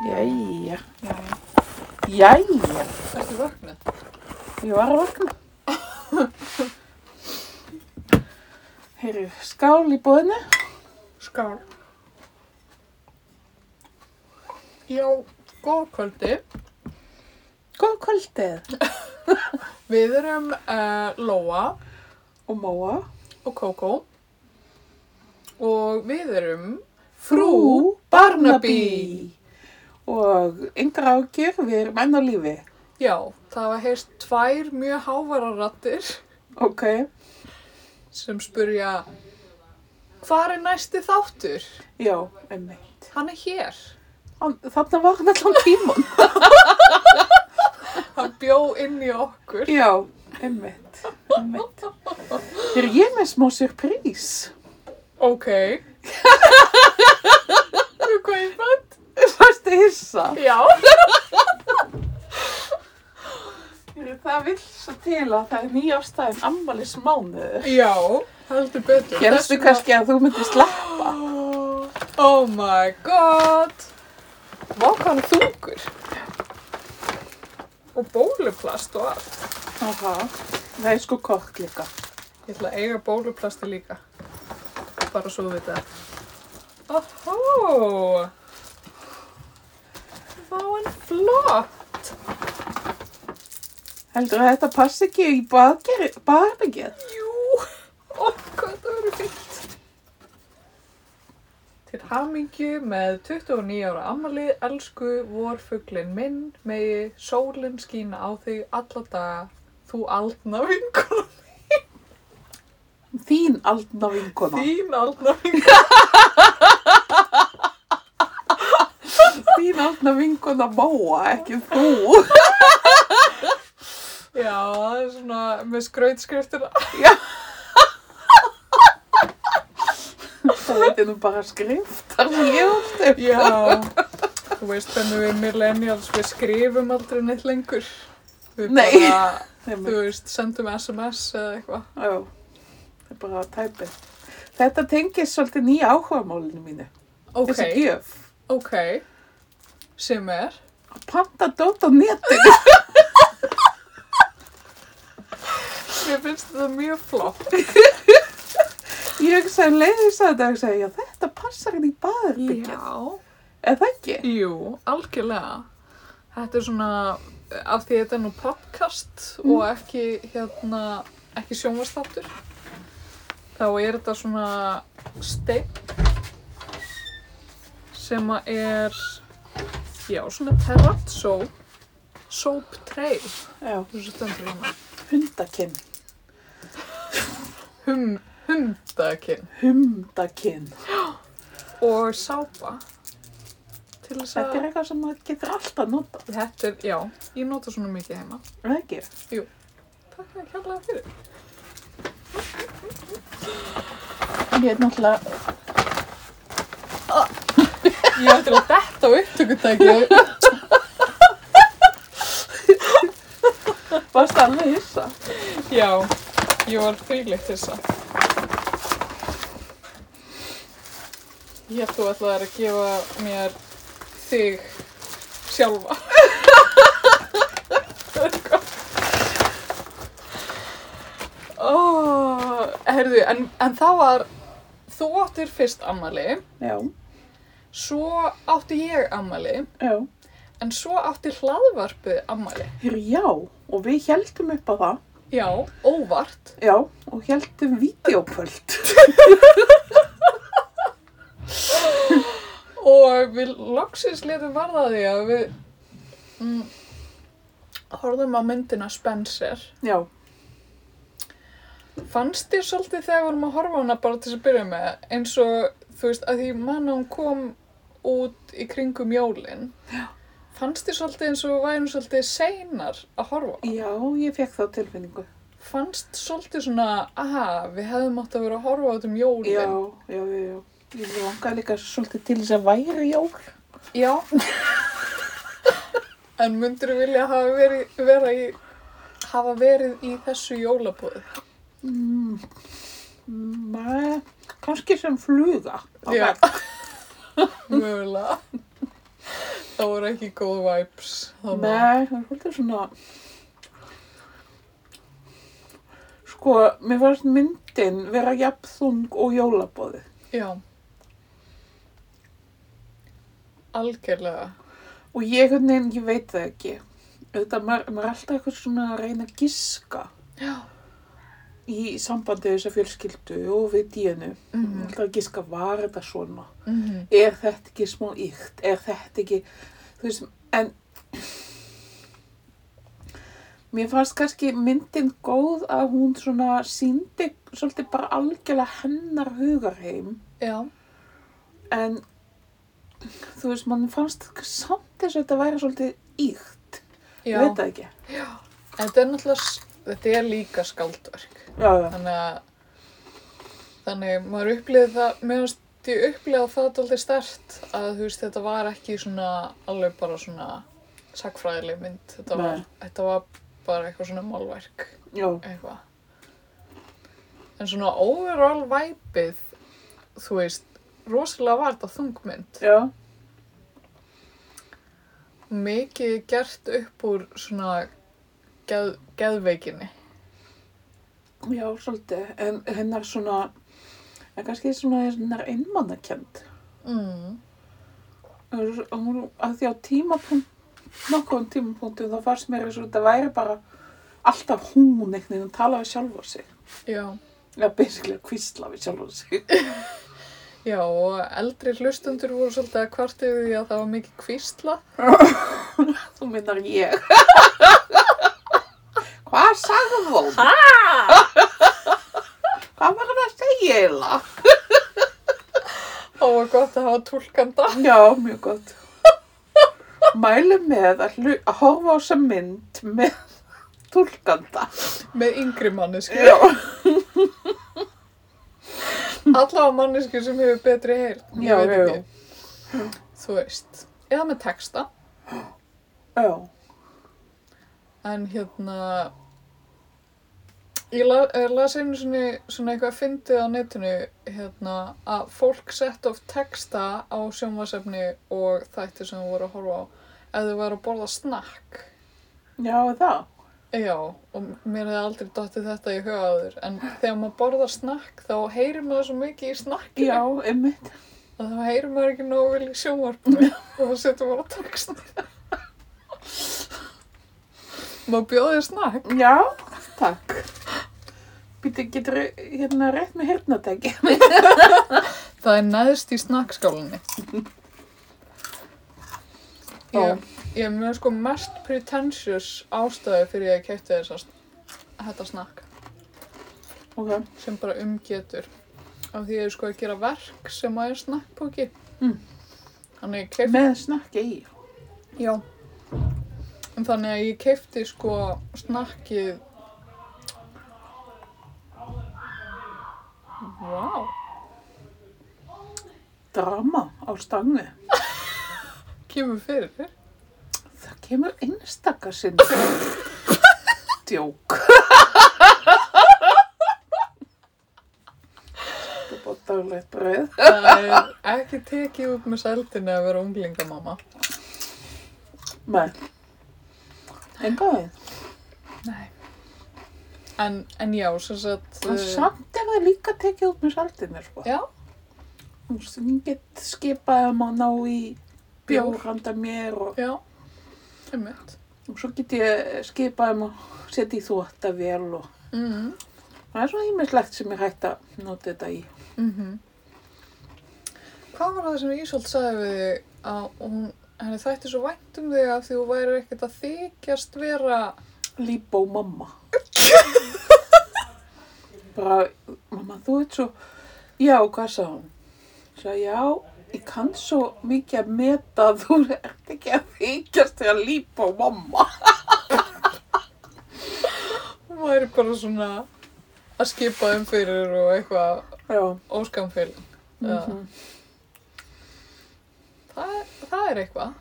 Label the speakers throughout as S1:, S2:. S1: Jæja,
S2: Já, já.
S1: jæja,
S2: Ertu vaknað?
S1: ég var að vakna. Heyru, skál í bóðinu.
S2: Skál. Já, góð kvöldi.
S1: Góð kvöldið.
S2: Við erum uh, Lóa
S1: Og móa.
S2: og Kókó og við erum
S1: Og yngra ágjur, við erum enn á lífi.
S2: Já, það var heyrst tvær mjög hávararrattir
S1: Ok,
S2: sem spurja Hvar er næsti þáttur?
S1: já, einmitt.
S2: Hann er hér.
S1: Hann- Þarna var hann allan tíman.
S2: Hann bjó inn í okkur.
S1: já, einmitt, einmitt. Heyru, ég er með smá surprís.
S2: Ok. Þú hvað ég fann?
S1: Fyrstu hissa.
S2: Já.
S1: Heyru, það vill svo til að það er nýjástæðin ammalis mánuður.
S2: Já, heldur betur.
S1: Gerstu kannski að þú myndir sleppa?
S2: kannski? Oh my god. Vá hvað hann er þungur. Og bóluplast og allt.
S1: Aha. Það er sko kork líka.
S2: Ég ætla að eiga bóluplasti líka. Bara svo við þetta. Ohó. Vá hann er flott.
S1: Heldur að þetta passi ekki í barbegjað?
S2: Jú. Ó, hvað það verður fint. Til hamingju með 29 ára ammalið, elsku vorfuglin minn, megi sólin skína á þig alla daga, þú aldna vinkona,
S1: Þín aldna vinkona.
S2: þín aldna vinkona.
S1: Þín aldna vinkona móa, ekki þú.
S2: Já, það er svona með skrautskriftina.
S1: Það veit ég nú bara skriftar sem ég átti.
S2: Já, þú veist hvernig við millennials, við skrifum aldrei neitt lengur. Við
S1: Nei.
S2: Bara,
S1: Þeim,
S2: þú veist, sendum SMS eða eitthvað.
S1: já, það er bara tæpið. Þetta tengist svolítið nýja áhugamálinu mínu.
S2: Ok,
S1: Þessi gjöf.
S2: ok, sem er?
S1: Að panta dót á netinu.
S2: Mér finnst þetta mjög flott.
S1: Ég hugsaði um leiðis að þetta og hugsaði, já þetta passar inn í barbegjað. Er það ekki?
S2: Jú, algjörlega. Þetta er svona, af því þetta er nú podcast og
S1: Mm.
S2: ekki, hérna, ekki sjónvastáttur, þá er þetta svona steinn sem að er, já, svona terrazzo soap tray,
S1: Já,
S2: þessu stendur hérna.
S1: hundakinn.
S2: Hum, hundakinn
S1: Humdakinn.
S2: og sápa til þess
S1: Þetta
S2: að,
S1: er eitthvað sem maður getur alltaf nota.
S2: þetta er, já, ég nota svona mikið heima.
S1: Er það ekki?
S2: Takk að kjallaði fyrir.
S1: Ég er náttúrulega,
S2: Ég ætti að detta á upptökutækju.
S1: varst alveg hissa.
S2: Já, ég var frílitt þessa. Ég ætti að ætla að gefa mér þig sjálfa. oh, herðu, en, en það var, þú áttir fyrst ammali,
S1: Já,
S2: svo átti ég ammali,
S1: já.
S2: en svo átti hlaðvarpið ammali.
S1: Hér, já, og við heldum upp á það.
S2: Já, óvart.
S1: Já, og heldum videopöld.
S2: Og við loksins letum varða að því að við mm, horfðum á myndina Spencer.
S1: Já,
S2: Fannst þér svolítið þegar við vorum að horfa á hana bara til þess að byrja með eins og þú veist að því manna hún kom út í kringum jólin. Fannst þér svolítið eins og við værum svolítið seinar að horfa? á hana?
S1: já, ég fekk þá tilfinningu.
S2: Fannst svolítið svona, aha, við hefðum átt að vera að horfa út um
S1: Já,
S2: jólin.
S1: já, já, já. Ég langaði líka svolítið til þess að væri jól.
S2: Já. en myndur þú vilja hafa verið, vera í, hafa verið í þessu jólabúði?
S1: Mm, Mæ, kannski sem fluga. á
S2: Já.
S1: vegg.
S2: Mögulega. Það voru ekki góð vibes. þarna.
S1: Nei, það er svolítið svona Sko, mér fannst myndin vera jafnþung og jólabóðið.
S2: Já. Algjörlega.
S1: Og ég, einhvern veginn, ég veit það ekki. Þetta, maður, maður er alltaf eitthvað svona að reyna að giska
S2: Já.
S1: í sambandi við þessa fjölskyldu og við dínu.
S2: Mhm.
S1: Alltaf að giska, var þetta svona?
S2: Mm
S1: Er þetta ekki smá ykt? Er þetta ekki, þú veist, en mér fannst kannski myndin góð að hún svona síndi svolítið bara algjörlega hennar hugarheim
S2: Já.
S1: en þú veist, mann fannst samt þess að þetta væri svolítið íkt,
S2: Já.
S1: ég veit það ekki já,
S2: Þetta er náttúrulega, s- þetta er líka skáldverk.
S1: já,
S2: Þannig að, þannig maður upplýði það, mér finnst ég upplýði það alltaf stert að þú veist þetta var ekki svona alveg bara svona sakfræðileg mynd. Þetta var,
S1: Nei.
S2: þetta var bara eitthvað svona málverk.
S1: já,
S2: eitthvað en svona overall væpið þú veist, rosalega var þetta þungmynd
S1: já,
S2: mikið gert upp úr svona geð, geðveikinni
S1: já, svolítið en hennar svona en kannski svona hennar einmannakend
S2: mm.
S1: að því á tímapunkt nokkuðum tímapunktum þá fannst mér eins og þetta væri bara alltaf hún einhvern veginn að tala við sjálfa sig
S2: já,
S1: eða basically að kvísla við sjálfa sig
S2: já og eldri hlustundur voru svolítið að kvartu því að það var mikið kvísla
S1: þú minnar ég hvað sagði hún? hvað var hann að segja eiginlega?
S2: það var gott að hafa tólkanda
S1: Já, mjög gott. Mælu með að, hlu, að horfa á þessa mynd með tólkanda.
S2: með yngri mannesku
S1: Já.
S2: allavega mannesku sem hefur betri heyr
S1: Já, já, já.
S2: þú veist, eða með texta
S1: Já,
S2: En hérna, ég la, eh, las einu svona, svona eitthvað fyndið á netinu hérna, að fólk sett of texta á sjónvasefni og þætti sem þú voru að horfa á ef þau voru að borða snakk.
S1: já er það.
S2: Já, og mér hefði aldrei dottið þetta í hugaður, en þegar maður borðar snakk þá heyrir maður svo mikið í snakkinu
S1: Já, einmitt.
S2: að þá heyrir maður ekki nógu vel í sjónvarpinu og þá setur maður á texta. Má bjóðið snakk?
S1: Já, takk. Býtu, getur hérna rétt með hirtnatæki?
S2: Það er neðst í snakkskálinni. Ég, ég er mjög sko mest pretentious ástæði fyrir að ég kæfti þess að þetta snakk
S1: Ok.
S2: sem bara umgetur. Af því ég er sko að gera verk sem að er snakkpóki.
S1: Mm.
S2: Þannig ég kæfti,
S1: Með snakki í.
S2: já. En þannig að ég kæfti sko snakkið. Vá.
S1: Drama á stangu.
S2: Kemur fyrir þér.
S1: Það kemur einstakar sinn. Djók. Þetta er bara daglegt bröð.
S2: Það er ekki tekið út með sældinni að vera unglingamamma.
S1: Nei. Enga við.
S2: Nei. En, en já, sem sagt...
S1: En
S2: eh,
S1: samt er það líka tekið út með saldinni, sko.
S2: Já,
S1: Þú veist, hún get skipað um að ná í
S2: Bjór.
S1: bjór handa mér og,
S2: já. Einmitt.
S1: og svo get ég skipað um að setja í þvóttavél og
S2: Mhm.
S1: það er svona ímislegt sem ég hægt að nota þetta í.
S2: Mhm. Hvað var það sem Ísolt sagði við þig að hún, henni þætti svo vænt um þig af því hún væri ekkert að þykjast vera...
S1: Líbó mamma. Bara, mamma, þú ert svo, já, hvað sá hún? Sá, já, ég kann svo mikið að meta að þú ert ekki að þykjast þegar líbó mamma.
S2: Hún væri bara svona að skipa þeim fyrir og eitthvað
S1: Já.
S2: óskamfélin.
S1: Mhm.
S2: Það, er- það er eitthvað.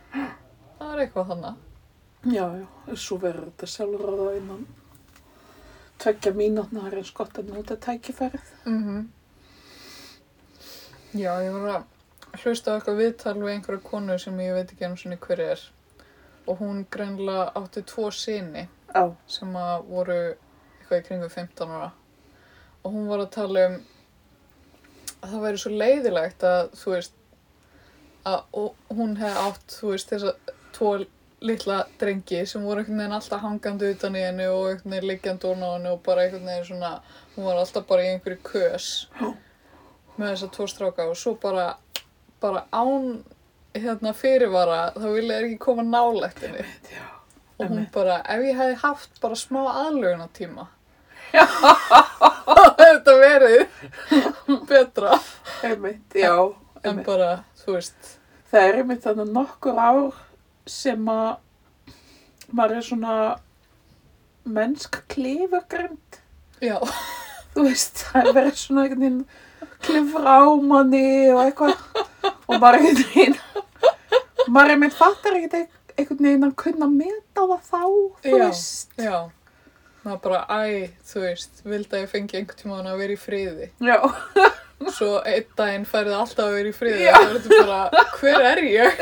S2: Það er eitthvað þannig.
S1: Já, já, svo verður þetta sjálfur að það innan tveggja mínútna er eins gott að nota tækifærið.
S2: Mhm. Já, ég var að hlusta á eitthvað viðtal við einhverja konu sem ég veit ekki einu sinni hver er og hún greinlega átti tvo sinni
S1: Já.
S2: sem að voru eitthvað í kringum 15 ára og hún var að tala um að það væri svo leiðilegt að þú veist að og hún hefði átt þú veist þessa tvo litla drengi sem voru einhvern veginn alltaf hangandi utan í henni og einhvern veginn liggjandi ofan á henni og bara einhvern veginn svona hún var alltaf bara í einhverju kös
S1: Já.
S2: með þessa tvo stráka og svo bara bara án hérna fyrirvara þá vilja þeir ekki koma nálægt henni
S1: Já.
S2: og hún bara, ef ég hefði haft bara smá aðlöguna tíma þetta verið betra
S1: Einmitt, já.
S2: en
S1: Einmitt.
S2: bara, þú veist
S1: Það er einmitt þannig nokkur ár sem að maður er svona mennsk klifagrind.
S2: já,
S1: Þú veist, það er verið svona einhvern veginn klifra á manni og eitthvað. Og maður er einhvern veginn, maður er einmitt fattar ekkert eit- einhvern veginn að kunna meta það þá, þú
S2: Já.
S1: veist.
S2: já maður bara, æ, þú veist vildi að ég fengi einhvern tímann að vera í friði
S1: Já,
S2: svo einn daginn færði alltaf að vera í friði
S1: Já.
S2: þá er þetta bara, hver er ég?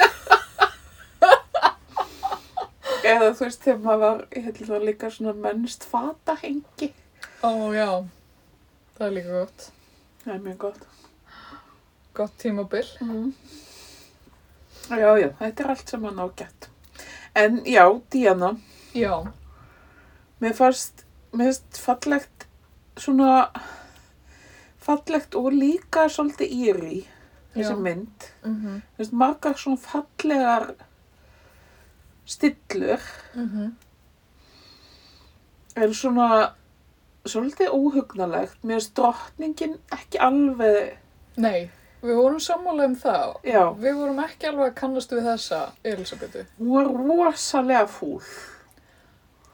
S1: eða þú veist, þegar maður var, ég held að það var líka svona mennst fatahengi.
S2: ó, já, það er líka gott
S1: Það er mjög gott.
S2: gott tímabil
S1: Mm. Já, já, þetta er allt saman ágætt. En já, Díana,
S2: já,
S1: mér fannst, mér finnst fallegt, svona, fallegt og líka svolítið íri, þessi
S2: Já.
S1: mynd.
S2: mhm mm
S1: Mér finnst margar svona fallegar stillur,
S2: Mhm.
S1: en svona, svolítið óhugnalegt. Mér finnst drottningin ekki alveg,
S2: nei, við vorum sammála um það
S1: já,
S2: Við vorum ekki alveg að kannast við þessa Elisabetu
S1: hún var rosalega fúl.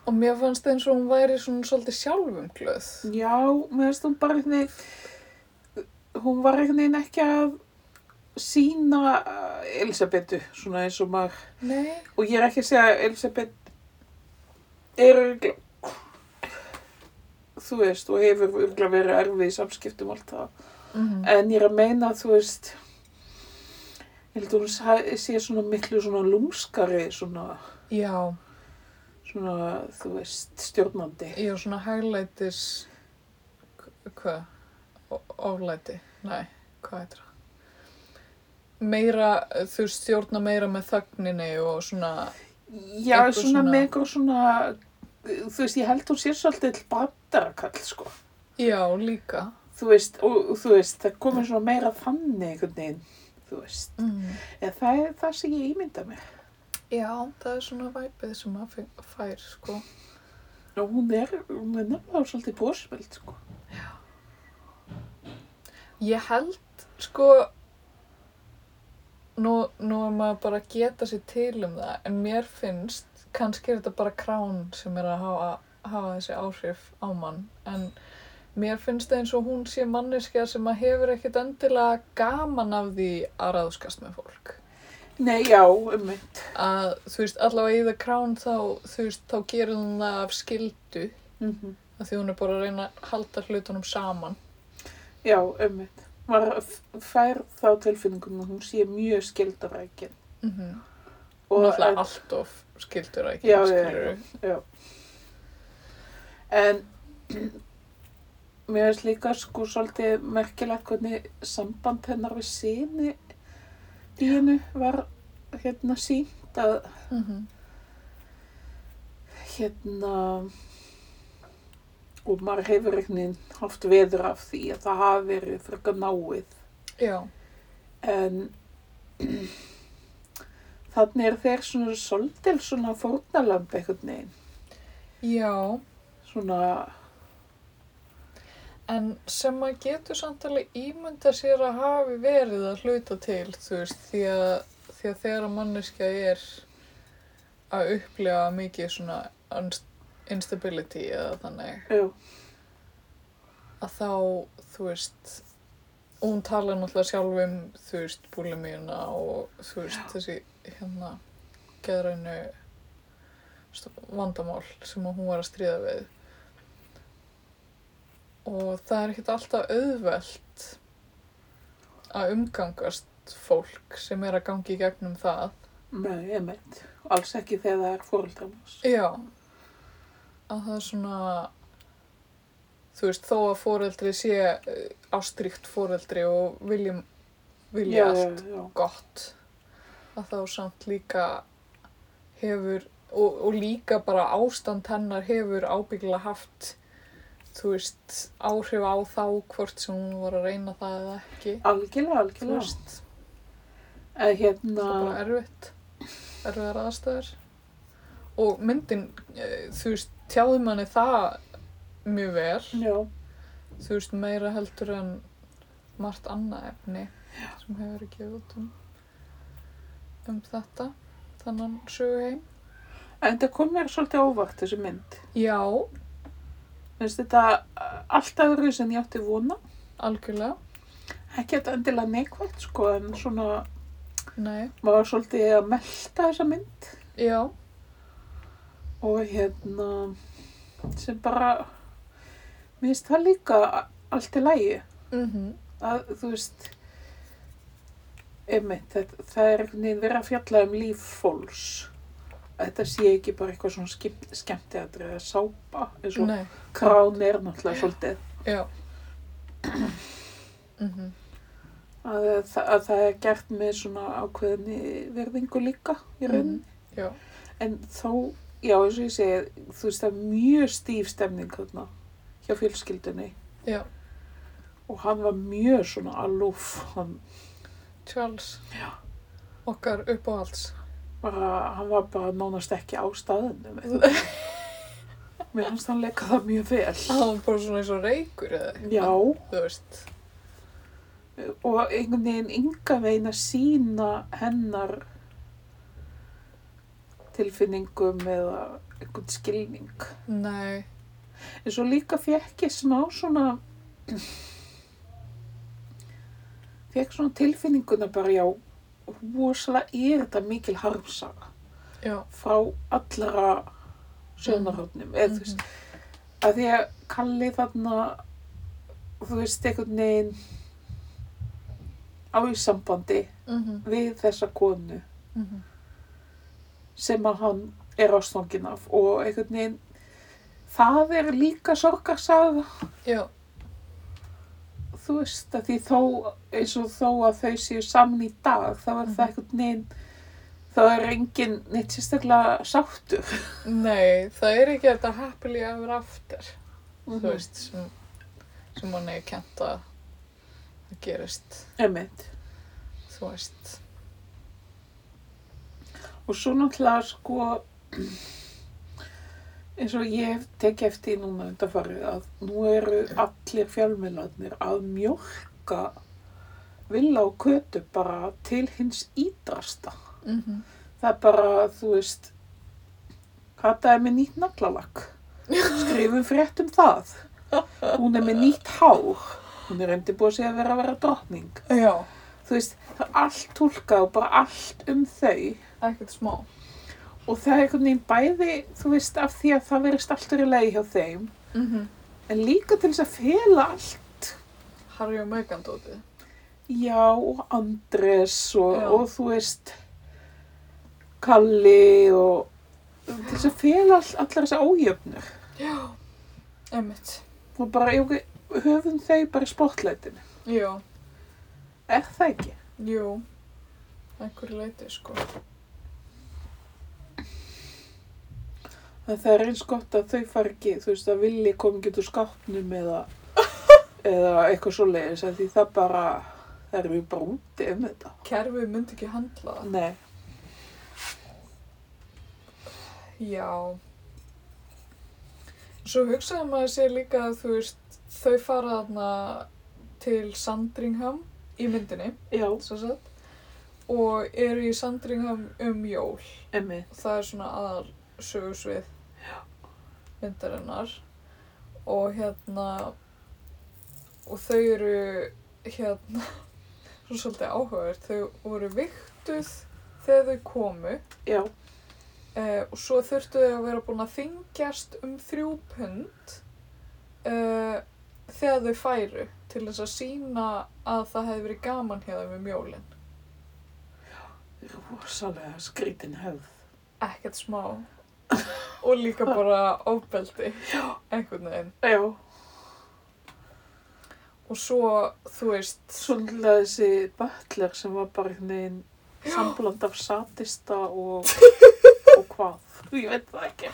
S2: og mér fannst eins og hún væri svona svolítið sjálfumglöð.
S1: Já, mér finnst hún bara einhvern veginn, hún var einhvern veginn ekki að sína Elisabetu, svona eins og maður,
S2: Nei,
S1: og ég er ekki að segja að Elisabet er örgla, þú veist, og hefur örgla verið erfið í samskiptum og allt það,
S2: mhm,
S1: en ég er að meina, þú veist, ég held að hún sa- sé svona miklu svona lúmskari, svona,
S2: já,
S1: svona, þú veist, stjórnandi.
S2: ég var svona hæglætis, hvað, Ó- oflæti, nei, hvað heitir það? Meira, þú stjórna meira með þögninni og svona,
S1: Já,
S2: Einhver
S1: svona
S2: svona-
S1: með einhver svona, þú veist, ég held hún sér svolítið bandarakall, sko.
S2: já, líka.
S1: Þú veist, og þú veist, það komið svona meira þannig einhvern veginn, þú veist.
S2: Mm.
S1: Eða það er það sem ég ímynda mig.
S2: Já, það er svona væpið sem maður fe- fær, sko.
S1: Og hún er, hún er nefnilega svolítið bósveld, sko.
S2: Ég held, sko, nú, nú er maður bara að geta sér til um það, en mér finnst, kannski er þetta bara krán sem er að hafa, hafa þessi áhrif á mann, en mér finnst það eins og hún sé manneskja sem að hefur ekkit endilega gaman af því að ráðskast með fólk.
S1: Nei, já, ummitt.
S2: Að, þú veist, allavega í það krán þá, þú veist, þá gerir hún það af skildu,
S1: Mm
S2: að því hún er bara að reyna að halda hlutunum saman.
S1: Já, ummitt. Maður f- fær þá tilfinningum að hún sé mjög skildarækin.
S2: Mm -hmm.
S1: Mhm. Og
S2: náttúrulega
S1: en,
S2: allt of skildur að
S1: Já, já,
S2: ekki skilur
S1: en mér finnst líka sko svolítið merkilegt hvernig samband hennar við síni dínu var hérna sínt að hérna og maður hefur einhvern veginn haft veður af því að það hafi verið frekar náið
S2: já,
S1: en þannig er þeir svona svolítið svona fórnalamb einhvern veginn
S2: já
S1: svona
S2: en sem maður getur samt alveg ímynda sér að hafi verið að hluta til þú veist því að, því að þegar að manneskja er að upplifa mikið svona unst- instability eða þannig
S1: já,
S2: að þá þú veist hún talar náttúrulega sjálf um þú veist búlimina og þú veist þessi hérna geðrænu st- vandamál sem að hún var að stríða við og það er ekkert alltaf auðvelt að umgangast allt fólk sem er að gangi í gegnum það.
S1: Nei, ég meint. Alls ekki þegar það er fóröldramas.
S2: Já, að það er svona, þú veist, þó að fóreldri sé eh, ástríkt fóreldri og viljum, vilja allt
S1: já.
S2: gott, að þá samt líka hefur, og, og líka bara ástand hennar hefur ábyggilega haft, þú veist, áhrif á þá hvort sem hún var að reyna það eða ekki,
S1: Algjörlega,
S2: þú
S1: algjörlega.
S2: veist,
S1: Eða hérna,
S2: það er bara erfitt, erfiðar aðstæður. Og myndin, eh, þú veist, tjáði manni það mjög vel,
S1: já,
S2: þú veist, meira heldur en margt annað efni sem hefur verið gefið út um, um þetta, þannan sögu heim.
S1: en þetta kom mér svolítið á óvart þessi mynd.
S2: Já,
S1: Finnst þetta uh, alltaf öðru sem ég átti vona.
S2: algjörlega,
S1: Ekki þetta endilega neikvægt, sko, en svona,
S2: nei,
S1: maður var svolítið að melta þessa mynd
S2: já,
S1: og hérna, sem bara, mér finnst það líka a- allt í lagi.
S2: mhm,
S1: að þú veist einmitt, þetta, það er einhvern veginn verið að fjalla um líf fólks Að þetta sé ekki bara eitthvað svona skemmtiðatri eða sápa eins og
S2: nei,
S1: krán er náttúrulega svolítið
S2: já, mhm,
S1: að, það- að það er gert með svona ákveðinni verðingu líka í rauninni
S2: já,
S1: en þó, já eins og ég segi þú veist það er mjög stíf stemning þarna hjá fjölskyldunni
S2: já,
S1: og hann var mjög svona aloof hann
S2: Charles, já. okkar uppáhalds.
S1: bara, hann var bara nánast ekki á staðinu mér fannst hann leika það mjög vel
S2: Það var bara svona eins og reykur eða eitthvað,
S1: já,
S2: þú veist.
S1: og einhvern veginn ynga veginn að sína hennar tilfinningum eða einhvern skilning
S2: Nei,
S1: en svo líka fekk ég smá svona fekk svona tilfinninguna bara já rosalega er þetta mikil harmsaga
S2: já,
S1: frá allra sjónarhóttnum eða þú veist að því að Kalli þarna þú veist einhvern veginn á í sambandi
S2: mhm,
S1: við þessa konu
S2: mhm,
S1: sem að hann er ástfangin af og einhvern veginn það er líka sorgarsaga
S2: já,
S1: þú veist að því þó eins og þó að þau séu saman í dag þá er það einhvern veginn þá er enginn neitt sérstaklega sáttur
S2: nei, það er ekki þetta happily ever after, þú veist, sem, sem mann er kent að að gerist,
S1: Einmitt.
S2: þú veist,
S1: Og svo náttúrulega sko eins og ég hef tekið eftir í núna undanfarið að nú eru allir fjálmiðlarnir að mjólka vilja og kötu bara til hins ídrasta.
S2: mhm,
S1: Það er bara, þú veist, Kata er með nýtt naglalakk. Skrifum frétt um það. Hún er með nýtt hár. Hún er undirbúið sig að vera að vera drottning.
S2: já,
S1: Þú veist, það er allt tólkað og bara allt um þau.
S2: ekkert smá,
S1: Og það er einhvern veginn bæði, þú veist, af því að það verist alltaf í lagi hjá þeim,
S2: mhm,
S1: en líka til þess að fela allt,
S2: Harry og Meghan dótið,
S1: já, og Andres og,
S2: Já.
S1: og þú veist, Kalli og til þess að fela all, allar þessa ójöfnur.
S2: emmitt,
S1: Og bara, jú, höfum þau bara í sportlætinu.
S2: já,
S1: Er það ekki?
S2: jú, einhverju leiti, sko,
S1: En það er eins gott að þau fari ekki, þú veist, að villi kom ekki út úr skápnum eða, eða eitthvað svo leiðis, því það bara, það er mjög bara úti um þetta.
S2: kerfið myndi ekki handla það,
S1: Nei.
S2: já, svo hugsaði maður sér líka að, þú veist, þau fara þarna til Sandringham í myndinni,
S1: Já,
S2: svo sett og eru í sandringum um jól
S1: emmi.
S2: það er svona aðal sögursvið myndarinnar og hérna og þau eru hérna svona svolítið áhugavert þau voru viktuð þegar þau komu
S1: Já,
S2: eh, og svo þurftu þau að vera búin að þingjast um þrjú pund eh, þegar þau færu til þess að sína að það hefði verið gaman hjá þeim um jólin
S1: rosalega skrítin hefð.
S2: ekkert smá og líka bara ofbeldi einhvern veginn
S1: Já,
S2: og svo þú veist
S1: svolítið þessi bötler sem var bara einhvern veginn sambland af satista og, og hvað. Ég veit það ekki.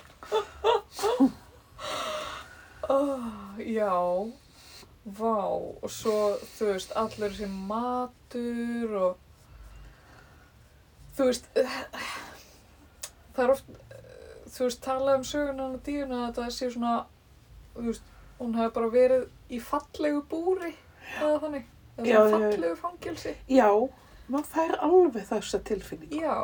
S2: oh, já vá og svo þú veist allur þessi matur og þú veist það er oft þú veist talað um söguna hann og díuna að það sé svona þú veist hún hefði bara verið í fallegu búri eða þannig eða
S1: Já,
S2: svona
S1: já, já.
S2: fallegu fangelsi
S1: Já, maður fær alveg þessa tilfinningu.
S2: Já,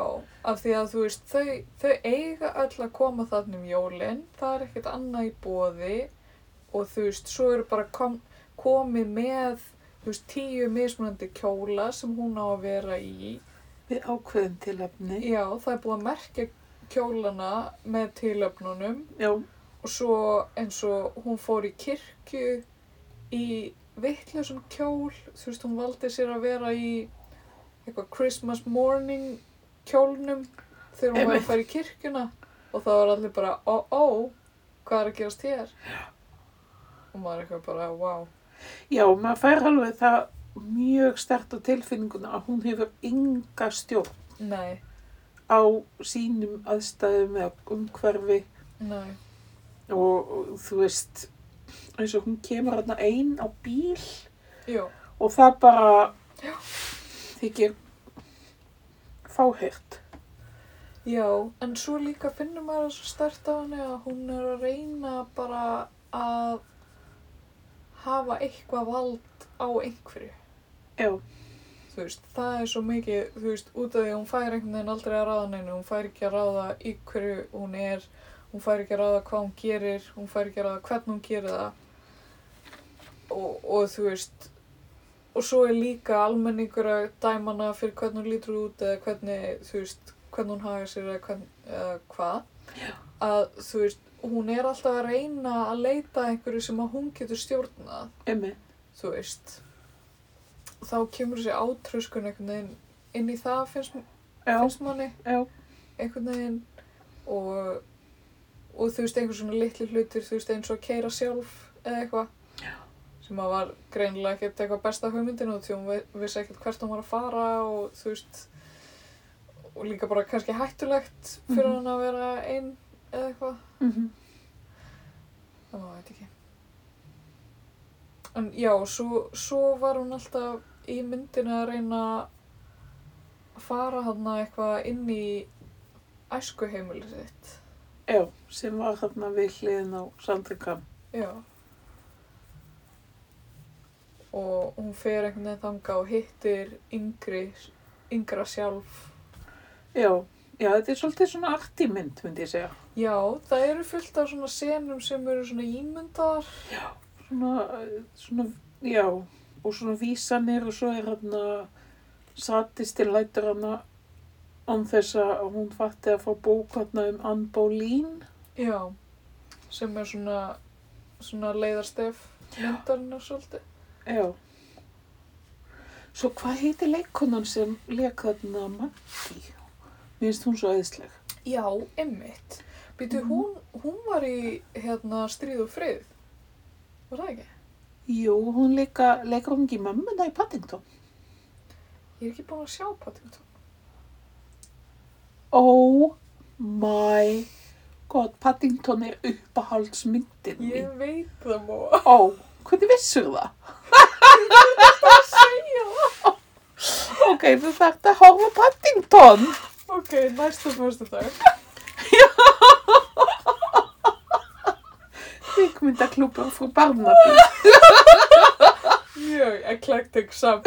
S2: af því að þú veist, þau, þau eiga öll að koma þannig um jólinn, það er ekkert annað í bóði og þú veist, svo eru bara kom, komið með, þú veist, tíu mismunandi kjóla sem hún á að vera í.
S1: Við ákveðin tilefni.
S2: Já, það er búið að merkja kjólana með tilöfnunum
S1: Já,
S2: og svo eins og hún fór í kirkju í vittlausum kjól þú veist hún valdi sér að vera í eitthvað Christmas morning kjólnum þegar hún var
S1: Einmitt.
S2: að fara í kirkjuna og það var allir bara ó ó hvað er að gerast hér og maður er eitthvað bara wow
S1: já, maður fær alveg það mjög stert á tilfinninguna að hún hefur enga stjórn
S2: nei,
S1: á sínum aðstæðum eða umhverfi
S2: nei,
S1: og og þú veist eins og hún kemur hérna einn á bíl
S2: jú
S1: og það bara
S2: Já.
S1: þykir fáheyrt
S2: já, en svo líka finnum maður það svo stert á henni að hún er að reyna bara að hafa eitthvað vald á einhverju
S1: já,
S2: þú veist, það er svo mikið, þú veist, út af því að hún fær einhvern veginn aldrei að ráða neinu, hún fær ekki að ráða í hverju hún er, hún fær ekki að ráða hvað hún gerir, hún fær ekki að ráða hvernig hún gerir það og, og þú veist, og svo er líka almenningur að dæma hana fyrir hvernig hún lítur út eða hvernig, þú veist, hvernig hún haga sér eða, hvern, eða hvað, að þú veist, hún er alltaf að reyna að leita að einhverju sem að hún getur stjórnað
S1: emmi
S2: þú veist þá kemur þessi átröskun einhvern veginn inn í það finnst,
S1: já,
S2: finnst manni
S1: já,
S2: einhvern veginn og, og þú veist einhver svona litli hlutir þú veist eins og að keira sjálf eða eitthvað sem að var greinilega ekkert eitthvað besta hugmyndinu því hún vi- vissi ekkert hvert hún var að fara og þú veist og líka bara kannski hættulegt fyrir
S1: Mhm.
S2: hann að vera einn eða eitthvað
S1: mm
S2: Það maður veit ekki. En já, svo, svo var hún alltaf í myndinu að reyna að fara hann eitthvað inn í æskuheimilið sitt.
S1: já sem var hérna við hliðin á Sandrikam
S2: Já. Og hún fer einhvern veginn þanga og hittir yngri, yngra sjálf.
S1: já, já, þetta er svolítið svona artímynd myndi ég segja
S2: Já, það eru fullt af svona senum sem eru svona ímyndar.
S1: svona, eh, svona, já, og svona vísanir og svo er hann að satistinn lætur hann að án þess að hún fatti að fá bók hann um Ann Bólín.
S2: Já, sem er svona, svona leiðarstef myndarinnar svolítið.
S1: Já. Svo hvað heiti leikonan sem leik hann að Maggi? Mér finnst hún svo æðisleg.
S2: Já, emmitt. Býtu,
S1: Mhm.
S2: hún, hún var í hérna stríð og frið. Var það ekki?
S1: Jú, hún leika, leikur hún ekki mömmuna í Paddington.
S2: Ég er ekki búin að sjá Paddington.
S1: Oh my god, Paddington er uppáhaldsmyndin mín.
S2: Ég veit það má.
S1: Ó, hvernig vissur það? Ok, þú þarft að horfa á Paddington.
S2: Ok, næsta fyrstu dag.
S1: Kvikmyndaklúpur frú Barnaby.
S2: Mjög eclectic samt.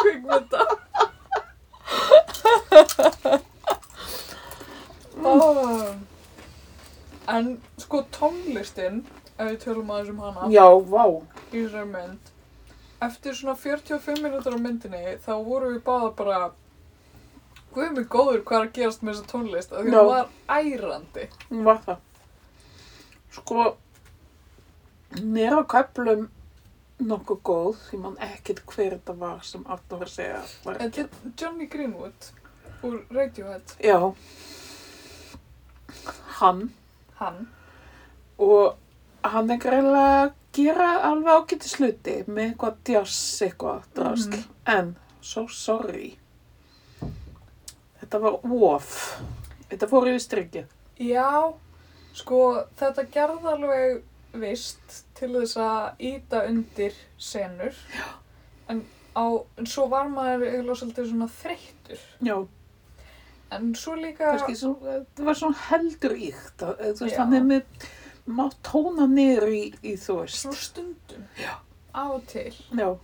S2: Kvikmynda. oh. En sko tónlistin, ef við tölum aðeins um hana.
S1: Já, vá.
S2: í þessari mynd eftir svona 45 minútur á myndinni þá vorum við báða bara guð mig góður hvað er að gerast með þessa tónlist af því
S1: Já.
S2: hún var ærandi
S1: Hún var það. Sko, hún er á köflum nokkuð góð, ég man ekkert hver þetta var sem Arna var að segja. Var.
S2: Þetta er Johnny Greenwood úr Radiohead,
S1: Já, hann
S2: hann.
S1: og hann er greinlega að gera alveg ágæti sluti með eitthvað djass eitthvað drasl.
S2: Mhm.
S1: En, so sorry, þetta var of, þetta fór yfir strikið.
S2: Já, sko þetta gerði alveg vist til þess að íta undir senur. Já. En, á, en svo var maður eiginlega svolítið svona þreyttur.
S1: Já,
S2: En svo líka...
S1: kannski, svo, eh, það var svona heldur íkt, þú veist,
S2: Já.
S1: hann er með, má tóna niður í, í þú veist.
S2: Svona stundum. Já. Á og til.
S1: Já,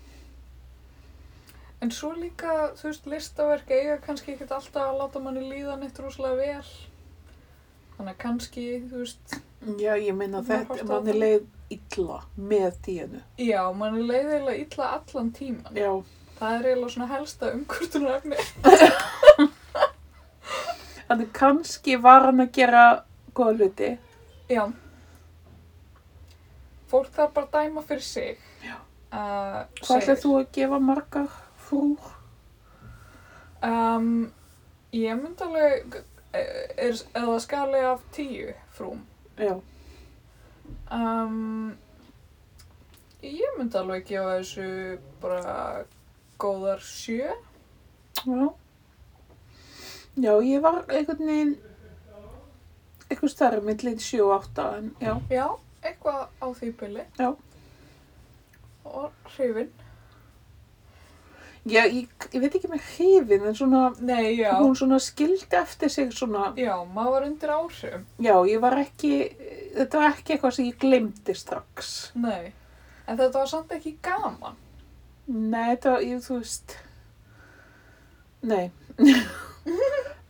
S2: En svo líka, þú veist, listaverk eiga kannski ekkert alltaf að láta manni líða neitt rosalega vel. Þannig að kannski, þú veist,
S1: já, ég meina
S2: Maður
S1: þetta,
S2: horft á
S1: manni
S2: það.
S1: leið illa með díinu.
S2: já, manni leiði eiginlega illa allan tíman.
S1: Já,
S2: Það er eiginlega svona helsta umkvörtunarefni.
S1: þannig kannski var hann að gera góða hluti.
S2: Já. Fólk þarf bara að dæma fyrir sig. Já. Uh,
S1: Hvað ætlaði þú að gefa margar frúr?
S2: Um, ég myndi alveg, eh, er, eða skali af tíu frúm.
S1: Já,
S2: Um, ég myndi alveg gefa þessu bara góðar sjö.
S1: já. Já, ég var einhvern veginn, eitthvað stærri millin 7 og 8, en já,
S2: Já, eitthvað á því byli.
S1: Já.
S2: Og hrifin.
S1: já ég, ég veit ekki með hrifin, en svona,
S2: Nei, já.
S1: hún svona skildi eftir sig svona,
S2: Já, maður var undir áhrifum.
S1: já, ég var ekki, þetta var ekki eitthvað sem ég glemdi strax.
S2: Nei. En þetta var samt ekki gaman.
S1: Nei, þetta var, ég, þú veist, nei,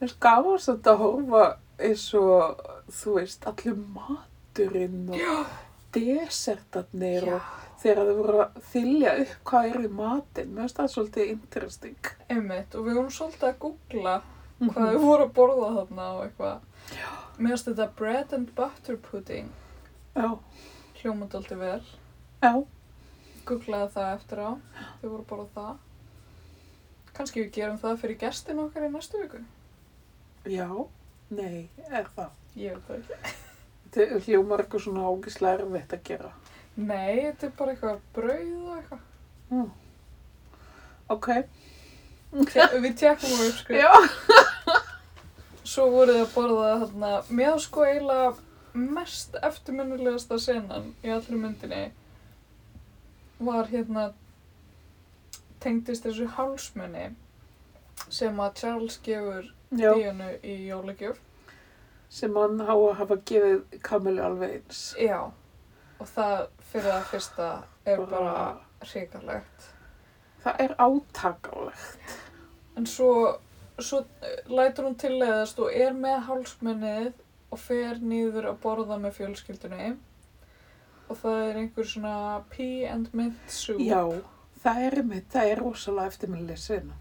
S1: það er gaman samt að horfa eins og, þú veist, allir maturinn og desertarnir og þegar þau voru að þylja upp hvað er í matinn, mér finnst það svolítið interesting.
S2: Einmitt, og við vorum svolítið að googla
S1: Mhm.
S2: hvað við vorum að borða þarna og eitthvað. Já. Mér finnst þetta bread and butter pudding
S1: Já,
S2: hljómað aldrei vel.
S1: já,
S2: Googlaði það eftir á, við vorum að borða það. Kannski við gerum það fyrir gestin okkar í næstu viku.
S1: já, nei, er það.
S2: Ég veit það ekki.
S1: Þetta hljómar eitthvað svona ágislega erfitt að gera.
S2: Nei, þetta er bara eitthvað brauð og eitthvað.
S1: Mm. Ok,
S2: Te- Við tekum á uppskrið.
S1: já,
S2: Svo voruð þið að borða þarna, mér var sko eiginlega mest eftirminnilegasta senan í allri myndinni var hérna tengdist þessu hálsmunni sem að Charles gefur
S1: já,
S2: Díanu í jólagjöf.
S1: sem hann á að hafa gefið Kamilu alveg eins.
S2: Já, og það fyrir það fyrsta er bara hrikalegt.
S1: Það er átakalegt.
S2: En svo, svo eh, lætur hún tilleiðast og er með hálsmennið og fer nýður að borða með fjölskyldunni. Og það er einhver svona pea and mint soup.
S1: Já, það er mitt, það er rosalega eftirminnileg sinna.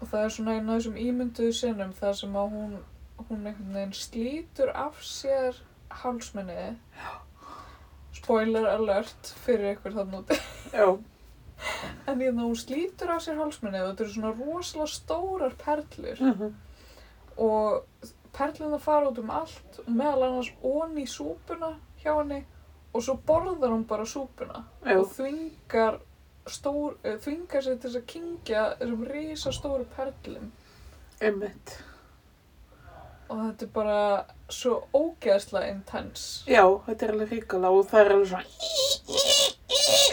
S2: Og það er svona einn af þessum ímynduðu sinnum þar sem að hún, hún einhvern veginn slítur af sér hálsmennið. Spoiler alert fyrir ykkur þann úti.
S1: Já,
S2: En ég hún slítur af sér hálsmennið og þetta eru svona rosalega stórar perlur.
S1: mhm,
S2: og perlina fara út um allt meðal annars ón í súpuna hjá henni og svo borðar hún bara súpuna
S1: já,
S2: og þvingar, stór, eh, þvingar sér til þess að kingja þessum risa stóru perlum
S1: einmitt.
S2: og þetta er bara svo ógeðslega intens
S1: Já, þetta er alveg ríkala og það er alveg svona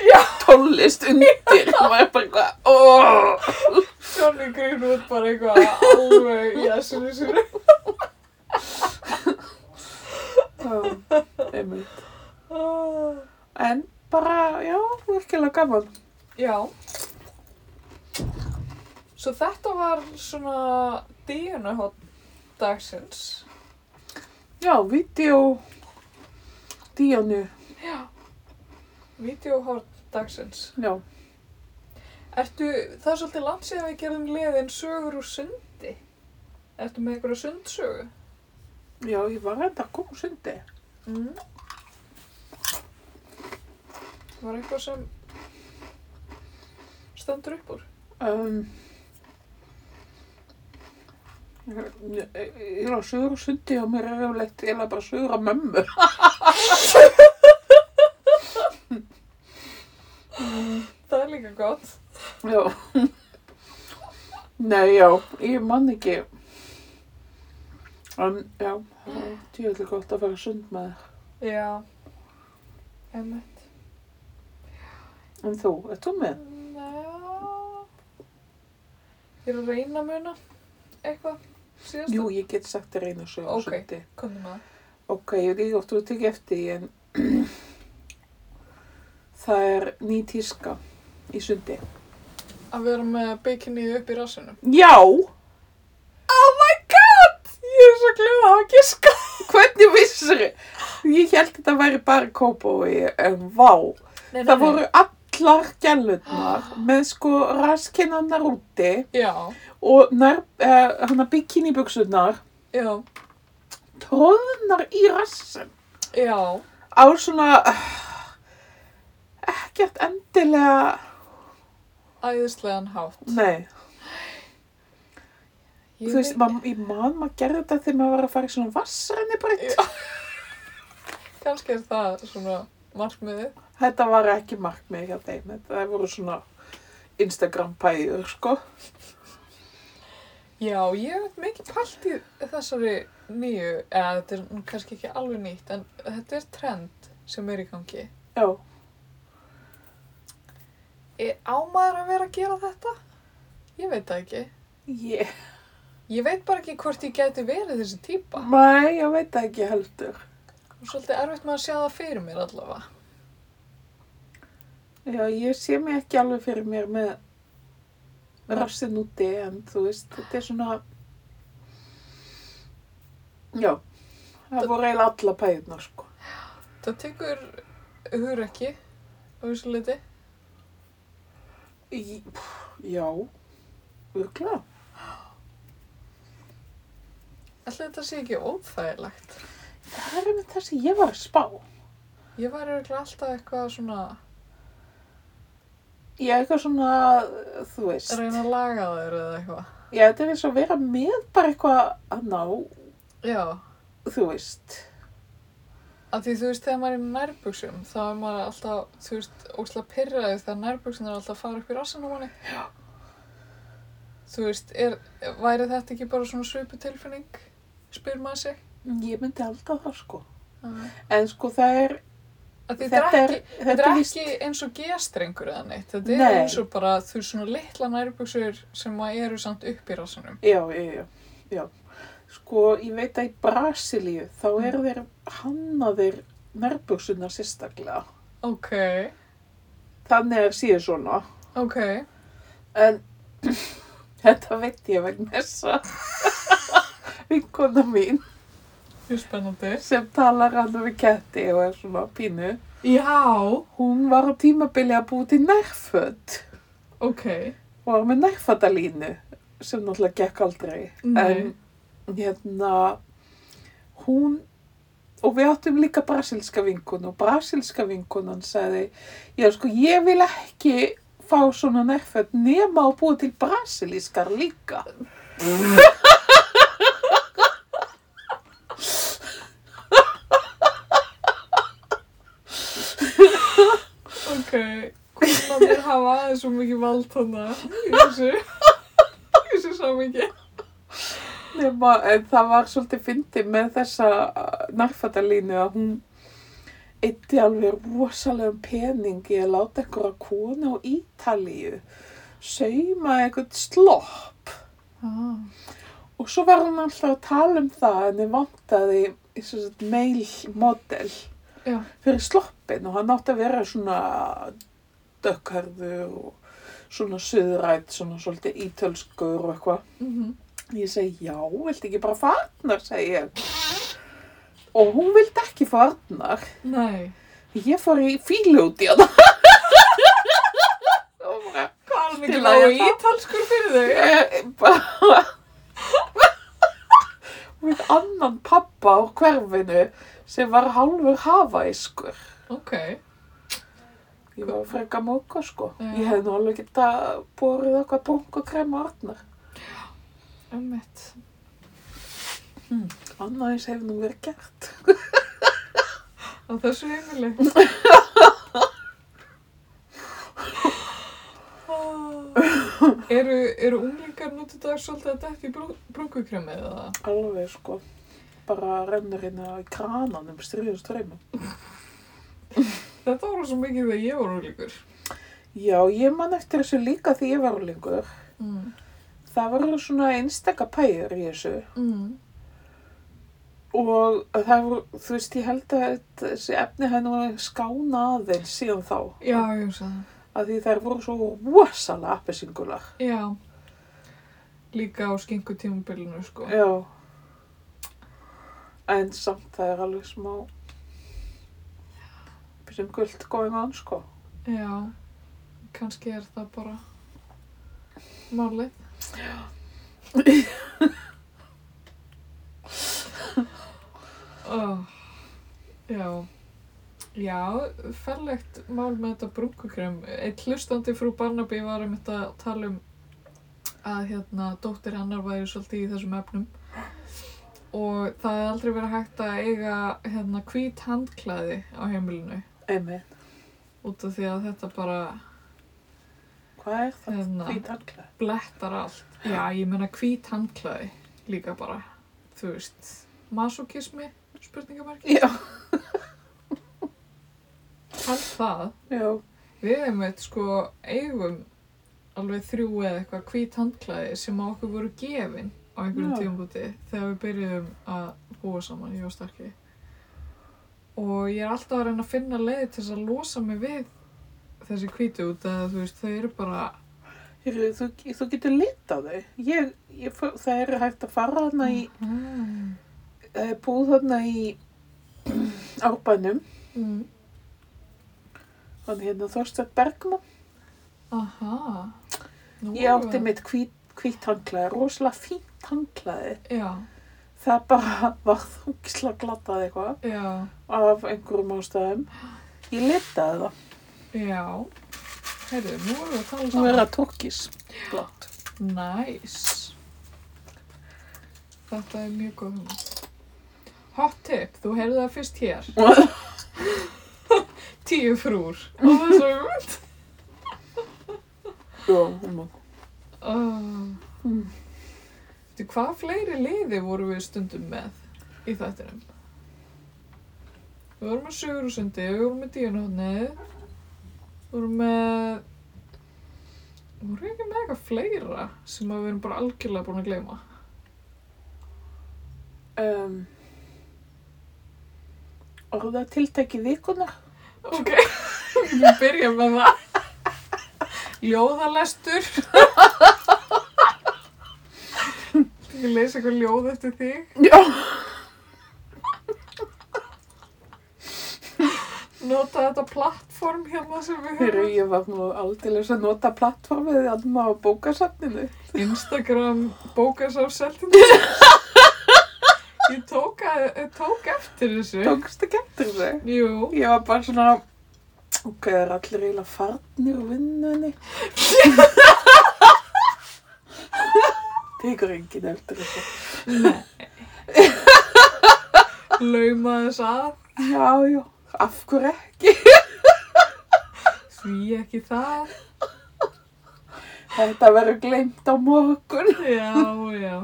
S1: já. tónlist undir. Það er bara eitthvað, óh.
S2: Johnny Greenwood bara eitthvað alveg í þessum sér
S1: Já, einmitt.
S2: Ah.
S1: En bara, já, virkilega gaman.
S2: já svo þetta var svona DNA-hótt dagsins
S1: Já, vídeo, díjanu,
S2: Já, vídeohorn dagsins.
S1: já.
S2: Ertu, það er svolítið langt síðan við gerðum liðin sögur úr sundi. Ertu með einhverja sundsögu?
S1: Já, ég var enda að koma sundi.
S2: Mm. Var eitthvað sem stendur upp úr?
S1: Um, ég ég er að sögur sundi og mér er yfirleitt, ég er bara að sögur að mömmu.
S2: Það er líka gott.
S1: Já. Nei, já, ég man ekki. En, já, það er djúlega gott að fara í sund með þér.
S2: Já. Einmitt.
S1: En þú, ert þú með?
S2: Já. Ég er að reyna að muna eitthvað síðast.
S1: Jú, ég get sagt þér einu sögur
S2: Ok.
S1: sundi.
S2: Komðu með.
S1: Ok, ég veit ekki hvort þú tekið eftir því, en það er ný tíska í sundi.
S2: Að vera með bikinnið upp í rassunum.
S1: Já! Oh my god!
S2: Ég er svo glemt að hafa giska.
S1: Hvernig vissir þið? Ég held að þetta væri bara kópói, en vá.
S2: Nei,
S1: Það voru allar gælutnar með sko raskinnarnar úti
S2: Já.
S1: og nær, eh, hana bikinibuksunar
S2: Já.
S1: tróðnar í rassin
S2: Já.
S1: á svona eh, ekkert endilega,
S2: Æðislegan hátt.
S1: nei,
S2: Ég
S1: þú veist,
S2: veit-
S1: man, ég man maður gerði þetta þegar maður var að fara í svona vassrenni breytt.
S2: Kannski er það svona markmiðið.
S1: Þetta var ekki markmið hjá þeim, þetta það voru svona Instagram pæður, sko.
S2: Já, ég hef mikið pælt í þessari nýju, eða þetta er nú kannski ekki alveg nýtt, en þetta er trend sem er í gangi.
S1: Já,
S2: Er ámaður E, að vera að gera þetta? Ég veit það ekki.
S1: ég,
S2: Ég veit bara ekki hvort ég gæti verið þessi típa.
S1: mæ, ég veit það ekki heldur.
S2: Og svolítið erfitt með að sjá það fyrir mér allavega.
S1: Já, ég sé mig ekki alveg fyrir mér með rassin úti, en þú veist, þetta er svona... Já, það voru eiginlega alla pæðunar, sko.
S2: Það tekur hugur ekki á þessu liti.
S1: Í- pff, Já, örgla.
S2: Alltaf þetta sé ekki óþægilegt.
S1: Það er með það sem ég var að spá.
S2: Ég var eiginlega alltaf eitthvað svona að
S1: Ég er eitthvað svona, þú veist,
S2: reyna að laga þeir eða eitthvað.
S1: já, þetta er eins og að vera með bara eitthvað að ná,
S2: Já.
S1: þú veist.
S2: Af því þú veist, þegar maður er í nærbuksum, þá er maður alltaf, þú veist, óslega pyrraðið þegar nærbuksum er alltaf að fara upp í rassin á manni. Já. Þú veist, er, væri þetta ekki bara svona svipu tilfinning, spyr maður sig?
S1: Ég myndi alltaf það, sko.
S2: Af
S1: En sko, það er,
S2: því
S1: þetta er,
S2: ekki, þetta
S1: þetta
S2: er
S1: er víst,
S2: ekki eins og gestrengur eða neitt. Þetta er
S1: Nei.
S2: eins og bara, þú veist, svona litla nærbuksur sem maður eru samt upp í rassinum.
S1: Já, já, já, já. Sko, ég veit að í Brasilíu þá eru þeir hannaðir nærbuksunar sérstaklega.
S2: Ok,
S1: Þannig er síður svona.
S2: ok.
S1: En þetta veit ég vegna þess að vinkona mín
S2: Þetta er spennandi.
S1: sem talar hann við ketti og er svona pínu.
S2: Já.
S1: Hún var á tímabili að búið til nærföld
S2: Ok.
S1: og var með nærföldalínu sem náttúrulega gekk aldrei.
S2: Nei.
S1: En hérna, hún, og við áttum líka brasilska vinkun og brasilska vinkunan sagði, já sko, ég vil ekki fá svona nærföld nema að búa til brasilískar líka.
S2: Ok, konarnir hafa aðeins svo mikið vald hana í þessu, í þessu samingi.
S1: Nema, en það var svolítið fyndið með þessa nærföldalínu að hún eitti alveg rosalegum pening í að láta einhverja konu á Ítalíu sauma einhvern slopp
S2: Ah.
S1: Og svo var hún alltaf að tala um það en ég vantaði í svo sett mail model
S2: Já,
S1: fyrir sloppin og hann átti að vera svona dökkarður og svona suðrætt, svona svolítið ítölskur og eitthvað.
S2: mm
S1: Ég segi, já, viltu ekki bara farnar, segi ég. Og hún vildi ekki farnar.
S2: nei.
S1: Ég fór í fílu út í hana. Og bara,
S2: Hvað er mikið
S1: Spilaði
S2: lágu
S1: það?
S2: ítalskur fyrir þau?
S1: Eh, bara við annan pappa á hverfinu sem var hálfur hafaískur.
S2: Ok,
S1: Ég var freka móka sko.
S2: Já.
S1: Ég hefði nú alveg geta borið okkar bunkokrem og orðnar.
S2: Ömmett.
S1: Annað eins hefði nú verið gert.
S2: Á þessu heimili. eru, eru unglingar nú til dags svolítið að dætt í brú, brúkukremi eða?
S1: Alveg sko. Bara rennur inn í krananum stríðum ströymum.
S2: Þetta voru svo mikið þegar ég var unglingur.
S1: Já, ég man eftir þessu líka því ég var lengur.
S2: Mm.
S1: Það voru svona einstaka pæjur í þessu
S2: Mm.
S1: og það voru, þú veist, ég held að þetta- þessi efni hefði nú skána aðeins síðan þá.
S2: Já, ég hugsa það.
S1: Af því þær voru svo rosalega appisingular.
S2: Já. Líka á skengu tímabilinu, sko.
S1: Já. En samt það er alveg smá sem guld going on sko.
S2: Já. Kanski er það bara málið. Já. Ah, Já. Já, ferlegt mál með þetta brúkukrem. Eitt hlustandi frú Barnaby var um þetta að tala um að hérna dóttir hennar væri svolítið í þessum efnum og það hefði aldrei verið hægt að eiga hérna hvít handklæði á heimilinu
S1: Amen.
S2: út af því að þetta bara
S1: Hvað er það?
S2: Hérna.
S1: Hvít handklæði.
S2: blettar allt. Já, ég meina hvít handklæði líka bara, þú veist, masokismi, spurningamarki.
S1: Já.
S2: Allt það,
S1: Já.
S2: við einmitt sko eigum alveg þrjú eða eitthvað hvít handklæði sem á okkur voru gefin á einhverjum
S1: Já.
S2: tímabúti þegar við byrjuðum að búa saman, ég og starki. Og ég er alltaf að reyna að finna leiði til þess að losa mig við þessi hvítu út að þú veist, þau eru bara,
S1: Heru, þú, þú getur lit á þau. Ég, ég, fór- það er hægt að fara þarna í, Ah.
S2: mm.
S1: það er Eh, búð þarna í árbænum.
S2: Mm.
S1: Hann hérna Þorstedt Bergman.
S2: Aha. Nú
S1: Ég
S2: erum
S1: átti
S2: við-
S1: mitt hvít, hvít handklæði, rosalega fínt handklæði.
S2: Já,
S1: Það bara var þungislega glattað eitthvað
S2: já,
S1: af einhverjum ástæðum. Ég litaði það.
S2: já. Herru, nú erum við að tala
S1: Hún er
S2: saman.
S1: að turkis. Blátt.
S2: Næs. Þetta er mjög góð hugmynd. Hot tip, þú heyrðu það fyrst hér. Tíu frúr. Á þessu hugmynd.
S1: Já, hún má.
S2: Oh.
S1: Mm.
S2: Veitu, Hvað fleiri liði vorum við stundum með í þættinum? Við vorum með Sigurðsundi, við vorum með Díunhóttnið, við vorum með... Vorum við ekki með eitthvað fleira sem að við erum bara algjörlega búin að gleyma?
S1: Um, orða tiltæki vikunar.
S2: Ok, við erum byrja með það. Ljóðalestur. Ég leysi eitthvað ljóð eftir þig.
S1: Já.
S2: Nota þetta plattform hérna sem við
S1: Heru,
S2: höfum.
S1: ég var nú aldeilis að nota plattformið þannig maður á bókasafninu.
S2: Instagram bókasaf seltin ég tók, að, tók eftir þessu
S1: Tókst ekki eftir þau.
S2: Jú,
S1: Ég var bara svona, ok, það er allir eiginlega farnir úr vinnunni. Tekur enginn eftir þessu.
S2: lauma þess að
S1: Já, já, af hverju ekki?
S2: því ekki það
S1: Þetta verður gleymt á morgun.
S2: já, já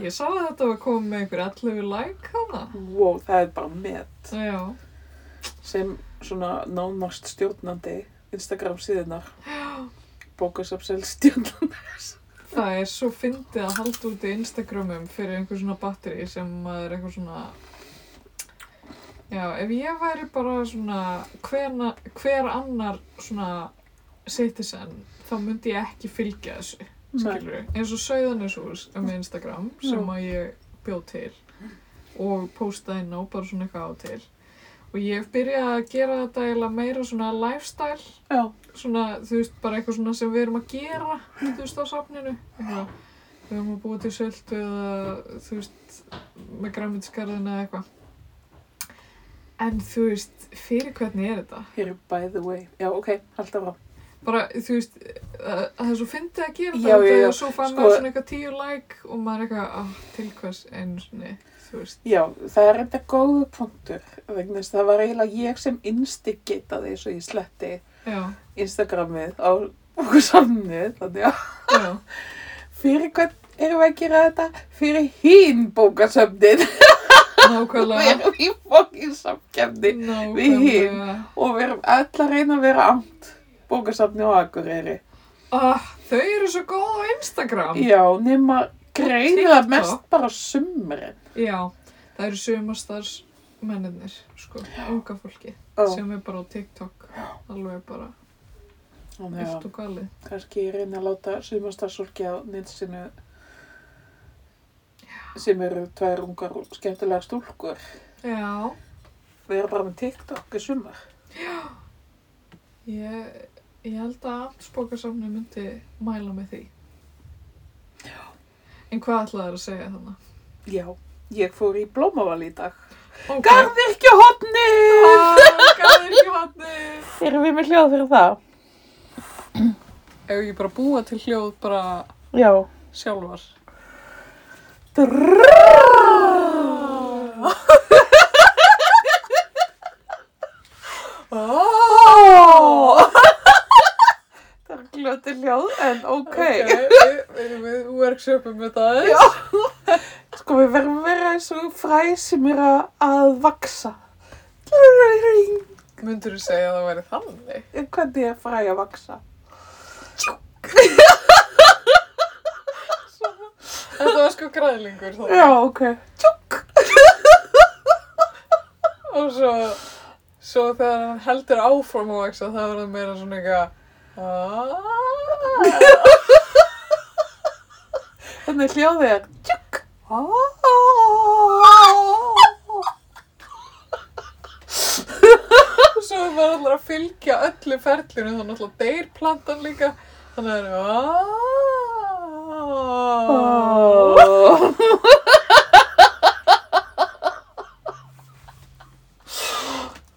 S2: ég sá að þetta var komið með einhver 11 like hana
S1: Wow, það er bara met.
S2: já,
S1: sem svona nánast stjórnandi Instagram síðunar bókasafsel stjórnandi
S2: það er svo fyndið að halda út í Instagramum fyrir einhver svona batteri sem maður er eitthvað svona já, ef ég væri bara svona hverna, hver annar svona citizen þá myndi ég ekki fylgja þessu skilur eins og Söðaneshús er með Instagram sem
S1: Já.
S2: að ég bjó til og postaði inn á bara svona eitthvað á til og ég hef byrjað að gera þetta eiginlega meira svona lifestyle
S1: Já,
S2: svona þú veist bara eitthvað svona sem við erum að gera þú veist á safninu eitthvað við erum að búa til söldu eða þú veist með græmitiskarðina eða eitthvað En þú veist, fyrir hvernig er þetta?
S1: Here, by the way. Já, ok, alltaf á.
S2: Bara, þú veist, að að það er svo fyndið að gera
S1: Já,
S2: þetta
S1: já, já,
S2: og svo fann
S1: sko-
S2: maður svona eitthvað tíu like og maður eitthvað, ah, til hvers einu svona, þú veist.
S1: Já, það er enda góðu punktur vegna þess að það var eiginlega ég sem instigitaði svo ég sletti
S2: Já,
S1: Instagramið á okkur samnið, þannig að
S2: já,
S1: fyrir hvern erum við að gera þetta? Fyrir hín bókasöfnin, við
S2: nákvæmlega,
S1: erum í fókin samkefni Við hin.
S2: nákvæmlega.
S1: og við erum öll að reyna að vera ámt bókasöfni og akureyri.
S2: Ah, þau eru svo góð á Instagram.
S1: Já, nema greiða
S2: TikTok.
S1: mest bara sumrin.
S2: Já, það eru sömastars menninir, sko, unga fólki,
S1: Ó,
S2: sem er bara á TikTok, alveg bara,
S1: þannig að-
S2: eft og galið.
S1: kannski ég reyni að láta sumastarsólki á nýtsinu sem eru tvær ungar og skemmtilega stúlkur
S2: Já,
S1: vera bara með TikTok í sumar
S2: ég, ég held að aftsbókasamni myndi mæla með því. Já. En hvað ætlaði þér að segja þannig?
S1: já, ég fór í blómaval í dag
S2: Okay.
S1: Garðirkju hotni
S2: Ah, Garðirkjuvatni!
S1: erum við með hljóð fyrir það?
S2: Ef ég bara búa til hljóð bara
S1: já
S2: sjálfar.
S1: Drrrr. Ó. það er glöti hljóð en ok
S2: við, við, við workshopum þetta aðeins. Já.
S1: Sko við verðum að vera eins og fræ sem er að, að vaksa. Hvernig
S2: Myndur þú segja að það væri þannig?
S1: er fræ að vaksa?
S2: Þetta var sko græðlingur þá.
S1: Já, ok. Tjúk!
S2: Og svo, svo þegar hann heldur áfram að vaksa, þá er það meira svona "Ah." eitthvað... "Ah."
S1: Þannig hljóðið er tjúk. Ó.
S2: Og svo er maður alltaf að fylgja öllu ferlinu, þannig alltaf deyr plantan líka. Þannig að það er...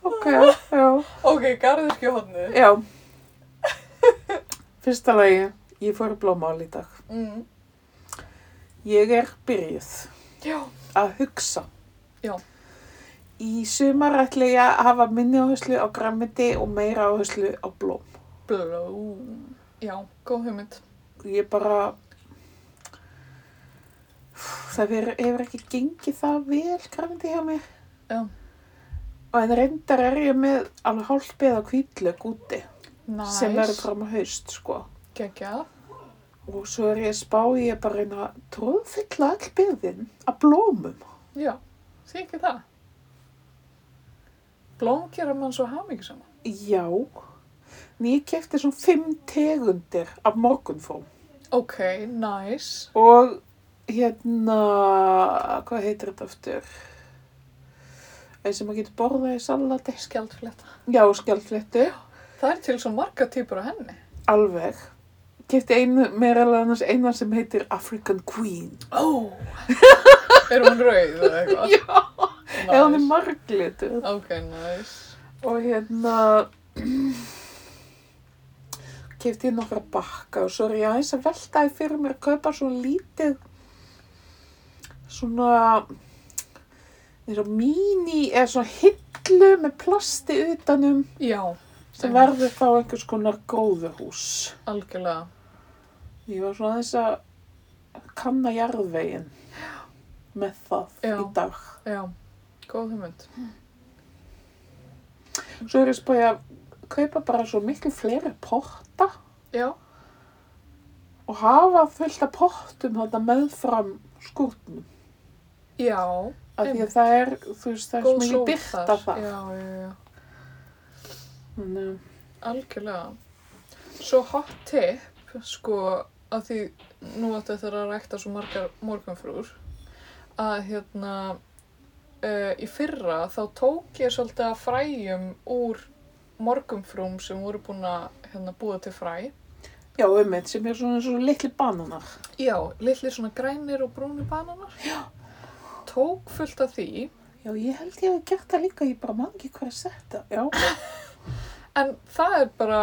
S1: Ok, já.
S2: Ok, garðirkjuhotnið.
S1: Já. Fyrsta lagi, ég fór í blómál í dag.
S2: Mm.
S1: Ég er byrjuð.
S2: Já.
S1: að hugsa.
S2: Já.
S1: Í sumar ætla ég að hafa minni áherslu á græmiti og meira áherslu á blóm.
S2: Blóm. Já, góð hugmynd.
S1: Ég bara, það hefur, hefur ekki gengið það vel græmiti hjá mér.
S2: Já.
S1: Og en reyndar er ég með alveg hálpið á kvítlög úti
S2: Næs.
S1: sem verður fram á haust sko.
S2: Geggjað.
S1: Og svo er ég að spá í að bara reyna að tróðfylla all byrðin að blómum.
S2: Já, sé ekki það. Blóm gera mann svo hamingi saman.
S1: Já, en ég kefti svona fimm tegundir af morgunfóm.
S2: Ok, nice.
S1: Og hérna, hvað heitir þetta aftur? Það sem maður getur borðað í salati.
S2: Skjaldfletta.
S1: Já, skjaldfléttu.
S2: Það er til svo marga típur á henni.
S1: Alveg. Kæfti einu, meira alveg annars eina sem heitir African Queen.
S2: Ó! er hún rauð eða eitthvað?
S1: Já,
S2: nice.
S1: eða hann er marglitur.
S2: Ok, nice.
S1: Og hérna, kæfti ég nokkra bakka og svo er ég aðeins að velta því fyrir mér að kaupa svo lítið, svona, eins og mini, eða svona hillu með plasti utanum
S2: Já,
S1: sem
S2: Einmitt.
S1: verður þá einhvers konar gróðurhús.
S2: algjörlega.
S1: Ég var svona aðeins að kanna jarðveginn með það
S2: Já.
S1: í dag.
S2: Já, góð hugmynd.
S1: Svo er ég spæði að kaupa bara svo miklu fleiri potta
S2: Já,
S1: og hafa fullt af pottum þetta meðfram skúrtnum.
S2: já.
S1: Af því
S2: Einmitt.
S1: að það er, þú veist, það er svo mikið
S2: sól
S1: byrta það.
S2: Já, já, já.
S1: Þannig,
S2: Algjörlega. Svo hot tip, sko, að því nú áttu þetta að rækta svo margar morgunfrúr, að hérna uh, í fyrra þá tók ég svolítið að fræjum úr morgunfrúm sem voru búin að hérna, búa til fræ.
S1: Já, ummitt, sem er svona svona litli bananar.
S2: Já, litli svona grænir og brúni bananar. Já. Tók fullt af því
S1: Já, ég held ég hef gert það líka, ég bara man ekki hvað er þetta. Já,
S2: En það er bara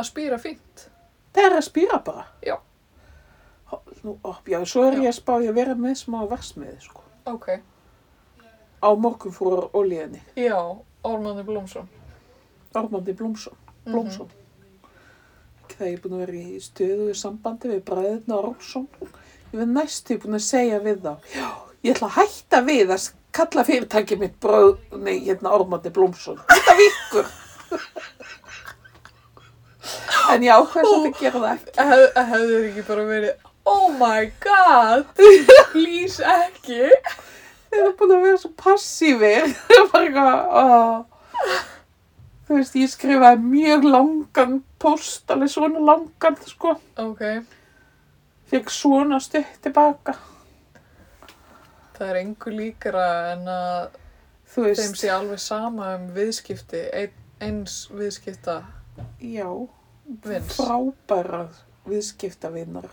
S2: að spýra fínt.
S1: það er að spýra bara.
S2: Já.
S1: Hó- Nú, ó, já, svo er ég að spá ég að vera með smá versmiði, sko.
S2: Ok.
S1: Á morgun fór olíðinni,
S2: Já, Ormóni Blómsson.
S1: Ormandi Blómsson. Blómsson. Ekki það ég er búin að vera í stöðu í sambandi við bræðina Ormsson. Ég var næstu búin að segja við þá. Já, ég ætla að hætta við að kalla fyrirtækið mitt bróð, nei, hérna Ormandi Blómsson. Þetta vikur. en ég ákveð samt að gera það ekki.
S2: Hef, hefðu þið ekki bara verið, oh my god, please ekki.
S1: Þeir eru búin að vera svo passífir. Það er bara eitthvað, ó. Þú veist, ég skrifaði mjög langan post, alveg svona langan, sko.
S2: Ok,
S1: Fikk svona stutt tilbaka.
S2: það er engu líkara en að
S1: Þú veist,
S2: þeim sé alveg sama um viðskipti, ein, eins viðskipta
S1: já,
S2: vins.
S1: frábæra viðskiptavinnar.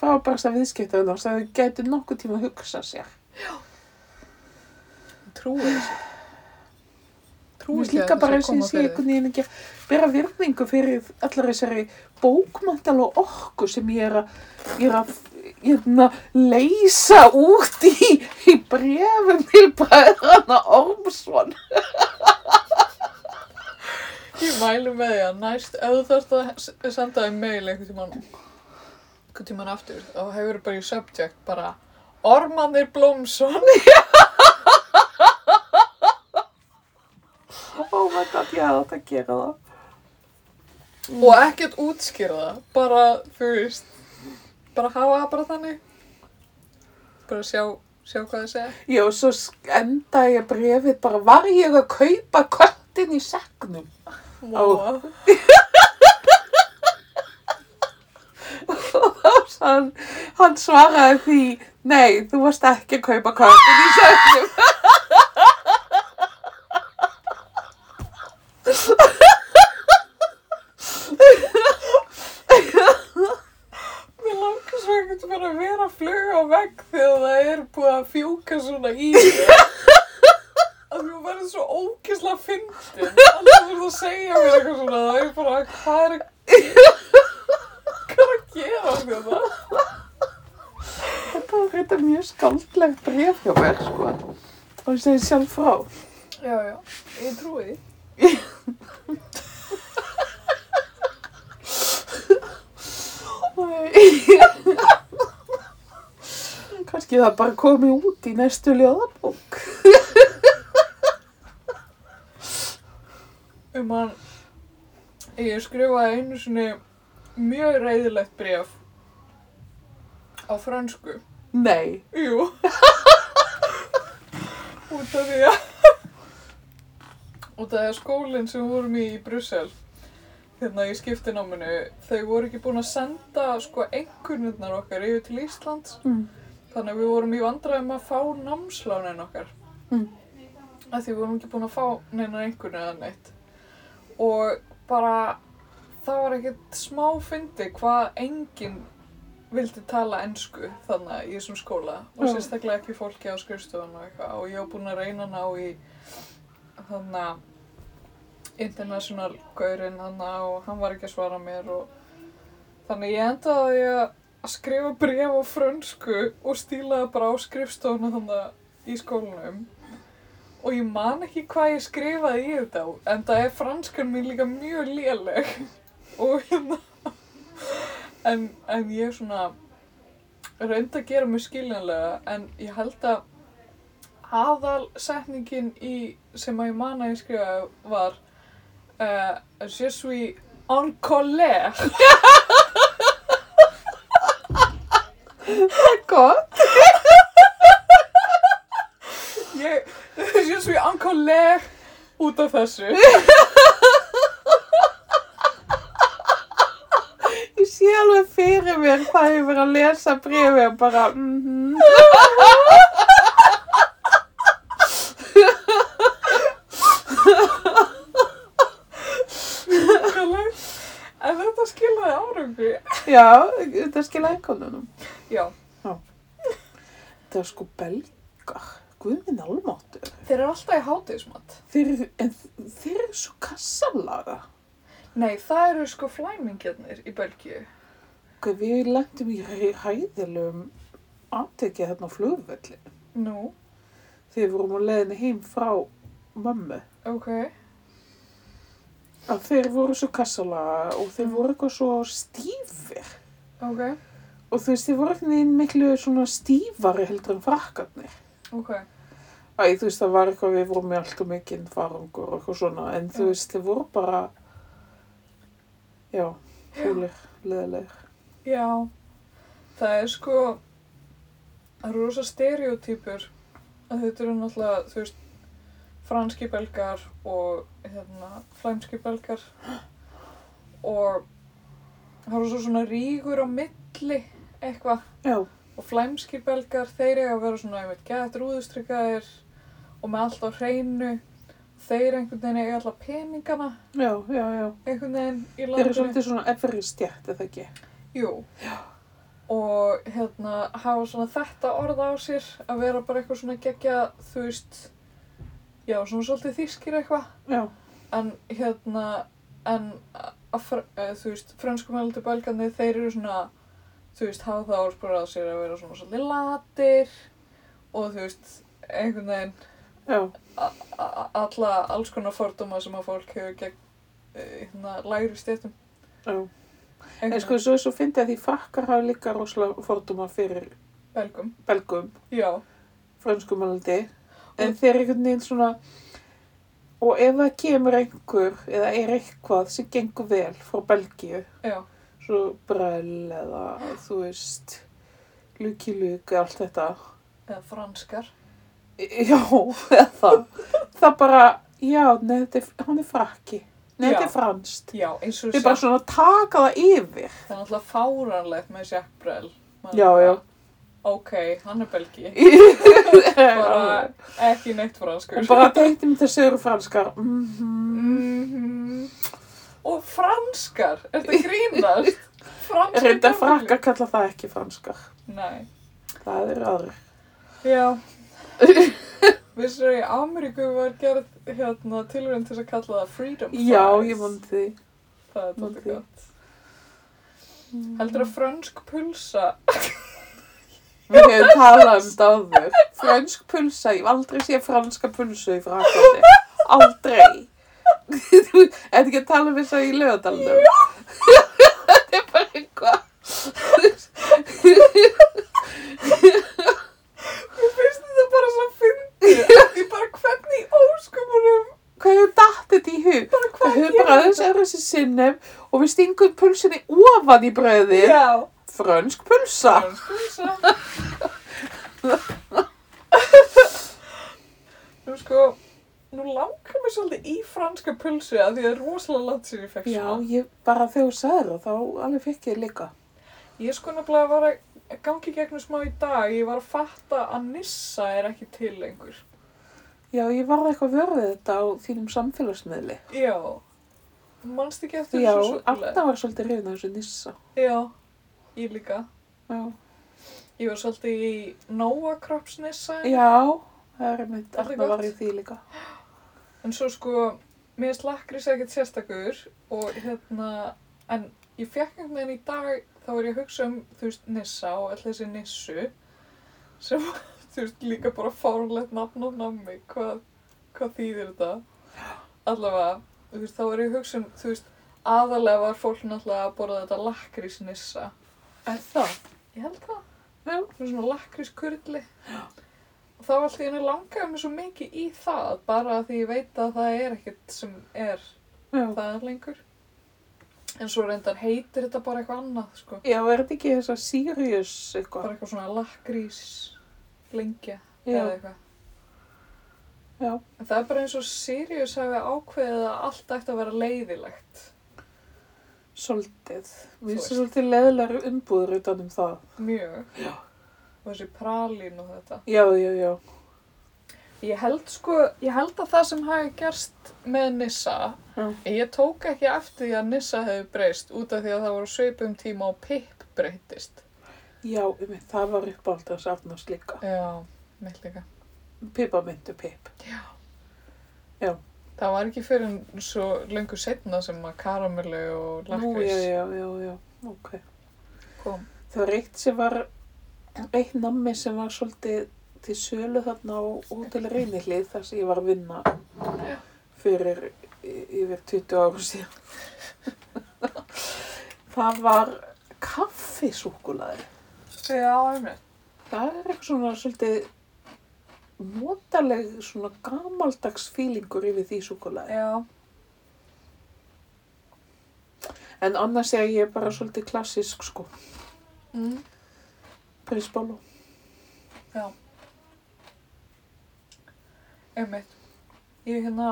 S1: Frábærasta viðskiptavinnar sem þau getur nokkuð tíma að hugsa sér.
S2: Trúið þessu.
S1: Þú
S2: Trúið
S1: veist líka bara eins og ég sé einhvern veginn ekki að bera virðingu fyrir allar þessari bókmantala orku sem ég er að, ég er að hérna, leysa út í, í brefum til bræðrana Ormsson.
S2: Ég mælu með því að næst, ef þú þarft að s- senda þeim mail einhvern tímann, einhvern tímann aftur, þá hefur þú bara í subject bara Ormanir Blómsson.
S1: Oh my god, ég hafði átt að gera það.
S2: og ekkert útskýra það bara, þú veist bara hafa það bara þannig bara sjá, sjá hvað þið segja
S1: Já, svo enda ég brefið bara, var ég að kaupa köttin í segnum?
S2: Móa
S1: Og hann, hann svaraði því, nei, þú varst ekki að kaupa köttin í segnum.
S2: Mér langar svo ekkert bara að vera að fluga á vegg þegar það er búið að fjúka svona í að þú verður svo ógislega fyndin alltaf verður að segja mér eitthvað svona það er bara, hvað er hvað er að gera þetta?
S1: Þetta var þetta mjög skaldlegt bref hjá mér, sko. Og ég segi sjálf frá.
S2: Já, já, ég trúi því
S1: Kanski það bara komi út í næstu ljóðabók.
S2: um hann ég skrifaði einu sinni mjög reyðilegt bref á fransku
S1: Nei.
S2: jú út af því að út af því að skólinn sem við vorum í í Brussel hérna í skiptináminu þau voru ekki búin að senda sko einhvernirnar okkar yfir til Íslands
S1: Mm.
S2: þannig að við vorum í vandræðum að fá námslánin okkar
S1: Mm.
S2: að því við vorum ekki búin að fá neina einhvern eða neitt og bara það var ekkert smá fyndi hvað enginn vildi tala ensku þannig í þessum skóla og
S1: Já.
S2: sérstaklega ekki fólki á skrifstofan og eitthvað og ég var búin að reyna að ná í þannig að international gaurinn þannig og hann var ekki að svara mér og þannig ég endaði á því að að skrifa bref á frönsku og stílaði bara á skrifstofuna þannig í skólanum og ég man ekki hvað ég skrifaði í þetta en það er franskan mín líka mjög léleg og hérna en, en ég svona reyndi að gera mig skiljanlega en ég held að aðal setningin í sem að ég man að ég skrifaði var uh, Je suis en colère
S1: Gott.
S2: Ég, ég svo ég ankáleg út af þessu.
S1: Ég sé alveg fyrir mér hvað ég verið að lesa brefið og bara, mhm.
S2: Ankáleg. En þetta skiljaði árangri.
S1: Já, þetta skilja eikonunum.
S2: Já,
S1: Það var sko belgar. guðminn almáttur.
S2: Þeir eru alltaf í hátíðismat.
S1: Þeir eru, en þeir eru svo kassalaga.
S2: Nei, það eru sko flæmingjarnir í Belgíu.
S1: Ok, við lendum í hæ- hæðilegum aftekja hérna á flugvelli.
S2: Nú,
S1: Þegar við vorum á leiðinni heim frá mömmu.
S2: ok.
S1: Að þeir voru svo kassalaga og þeir
S2: Mm.
S1: voru eitthvað svo stífir.
S2: Ok,
S1: Og þú veist, þeir voru einhvern veginn miklu svona stífari heldur en frakkarnir.
S2: ok.
S1: Æ, þú veist, það var eitthvað við vorum í allt og mikinn farangur og eitthvað svona. En þú
S2: Já.
S1: veist, þeir voru bara, já, húlir, leðilegir.
S2: Já, það er sko það eru rosa stereotypur að þetta eru náttúrulega, þú veist franski belgar og hérna, flæmski belgar og það eru svo svona rígur á milli eitthvað
S1: Já,
S2: og flæmski belgar, þeir eiga að vera svona einmitt gett rúðustrykkaðir og með allt á hreinu þeir einhvern veginn eiga alltaf peningana
S1: já, já, já.
S2: einhvern veginn
S1: Þeir
S2: í
S1: eru
S2: landinu
S1: svolítið svona efri stjætt, eða ekki?
S2: Jú. Og hérna hafa svona þetta orð á sér að vera bara eitthvað svona gegja, þú veist, já, svona svolítið þýskir eitthvað.
S1: Já,
S2: En hérna, en að, fr- eh, þú veist, frönskumældu belgandi, þeir eru svona, þú veist, hafa það orðspur á sér að vera svona svolítið latir og þú veist, einhvern veginn
S1: já,
S2: a- a- alla alls konar fordóma sem að fólk hefur gegn, eh, hérna, lægri stéttum.
S1: já.
S2: Einhvern
S1: En sko, svo, svo fyndi að því frakkar hafa líka rosalega fordóma fyrir
S2: veginn, belgum,
S1: belgum,
S2: já.
S1: franskumalandi, en
S2: Og-
S1: þeir eru einhvern veginn svona, og ef það kemur einhver, eða er eitthvað sem gengur vel frá Belgíu,
S2: Já,
S1: svo brell eða, þú veist, luki luki, allt þetta,
S2: eða franskar.
S1: E- já, eða það, það bara, já, nei, þetta er, hann er frakki, nei,
S2: Já.
S1: þetta er franskt.
S2: Já, eins og
S1: Þau bara
S2: Jacques-
S1: svona taka það yfir.
S2: það er náttúrulega fáranlegt með Jacques Brel. Maður
S1: Já,
S2: bara,
S1: já.
S2: Ok, hann er belgi.
S1: bara,
S2: Bara ekki neitt franskur.
S1: Og bara deytum þessi eru franskar. Mhm.
S2: Mhm. Og franskar, er þetta grínast? Franskar.
S1: Reynda
S2: belgi?
S1: frakkar kalla það ekki franskar.
S2: Nei,
S1: Það eru aðri.
S2: já. Vissir að í Ameríku var gerð hérna, tilurinn til þess að kalla það freedom fries.
S1: Já, ég mundi því.
S2: Það
S1: man
S2: er þetta
S1: því. Mhm.
S2: gott. Heldur að fransk pulsa?
S1: Við hefum talað um þetta áður. Fransk pulsa, ég hef aldrei séð franska pulsu í Fraklandi. Aldrei. Þú ert ekki að tala um þess að í lögadalnum. Þetta er bara eitthvað.
S2: Mér finnst þetta bara svo fyndið. Því bara hvernig í ósköpunum,
S1: Hvað hefur datt þetta í hug?
S2: bara
S1: Við
S2: hvað
S1: höfum bara aðeins öðru sér sinnum og við stingum pulsinni ofan í brauðið.
S2: Já.
S1: Frönsk pulsa.
S2: Fransk pulsa. Nú sko, nú langar mér svolítið í franska pulsu að því það er rosalega langt sér ég fekk
S1: Já,
S2: svona.
S1: ég bara þegar þú sagði það, þá alveg fekk ég líka.
S2: Ég sko nefnilega var að gangi gegnum smá í dag, ég var að fatta að nissa er ekki til lengur.
S1: Já, ég varði eitthvað vörðið þetta á þínum samfélagsmiðli.
S2: Já. Manst ekki eftir
S1: Já,
S2: þessu svolítið?
S1: alltaf var svolítið reyna þessu nissa.
S2: Já, ég líka.
S1: Já,
S2: Ég var svolítið í Nóa kroppsnissa.
S1: já það er mitt,
S2: Þetta er
S1: alltaf var
S2: gott.
S1: ég því líka.
S2: En svo sko, mér finnst lakrís ekkert sérstakur og hérna, en ég fekk einhvern veginn í dag, þá var ég að hugsa um, þú veist, Nissa og allir þessi Nissu, sem, þú veist, líka bara fárlegt nafn og nammi, hvað, hvað þýðir þetta? Allavega, þú veist, þá var ég að hugsa um, þú veist, aðalega var fólk náttúrulega að borða þetta lakrís Nissa.
S1: Er það?
S2: Ég held það.
S1: Já.
S2: Með svona lakkrískurli. Og þá allt í henni langaði mig svo mikið í það, bara af því ég veit að það er ekkert sem er
S1: Já.
S2: það lengur. En svo reyndar heitir þetta bara eitthvað annað, sko.
S1: Já, er þetta ekki þess að Sirius eitthvað?
S2: Bara eitthvað svona lakkrís lengja
S1: Já,
S2: eða eitthvað.
S1: já.
S2: En það er bara eins og Sirius hafi ákveðið að allt ætti að vera leiðilegt.
S1: Svolítið. Mér finnst
S2: veist.
S1: svolítið leðilegur umbúður utan um það.
S2: Mjög.
S1: Já.
S2: Og þessi pralín og þetta.
S1: Já, já, já.
S2: Ég held sko, ég held að það sem hafi gerst með Nissa,
S1: Já.
S2: ég tók ekki eftir því að Nissa hefði breyst út af því að það voru sveipum tíma og Pip breytist.
S1: Já, um, það var uppáld að safnast líka.
S2: Já, mitt líka.
S1: pipamintu pip.
S2: Það var ekki fyrir en svo lengur setna sem að karamellu og
S1: Nú, já,
S2: lakrís
S1: já, já, já, ok.
S2: kom.
S1: Það var eitt sem var, eitt nammi sem var svolítið til sölu þarna á Hótel Reynihlið þar sem ég var að vinna fyrir y- yfir 20 árum síðan. það var kaffisúkulaði.
S2: Já, einmitt.
S1: Það er eitthvað svona svolítið notaleg svona gamaldags fílingur yfir því súkulaði.
S2: Já.
S1: En annars er ég bara svolítið klassísk sko,
S2: Mm.
S1: prinsbólu.
S2: Einmitt. Ég hérna,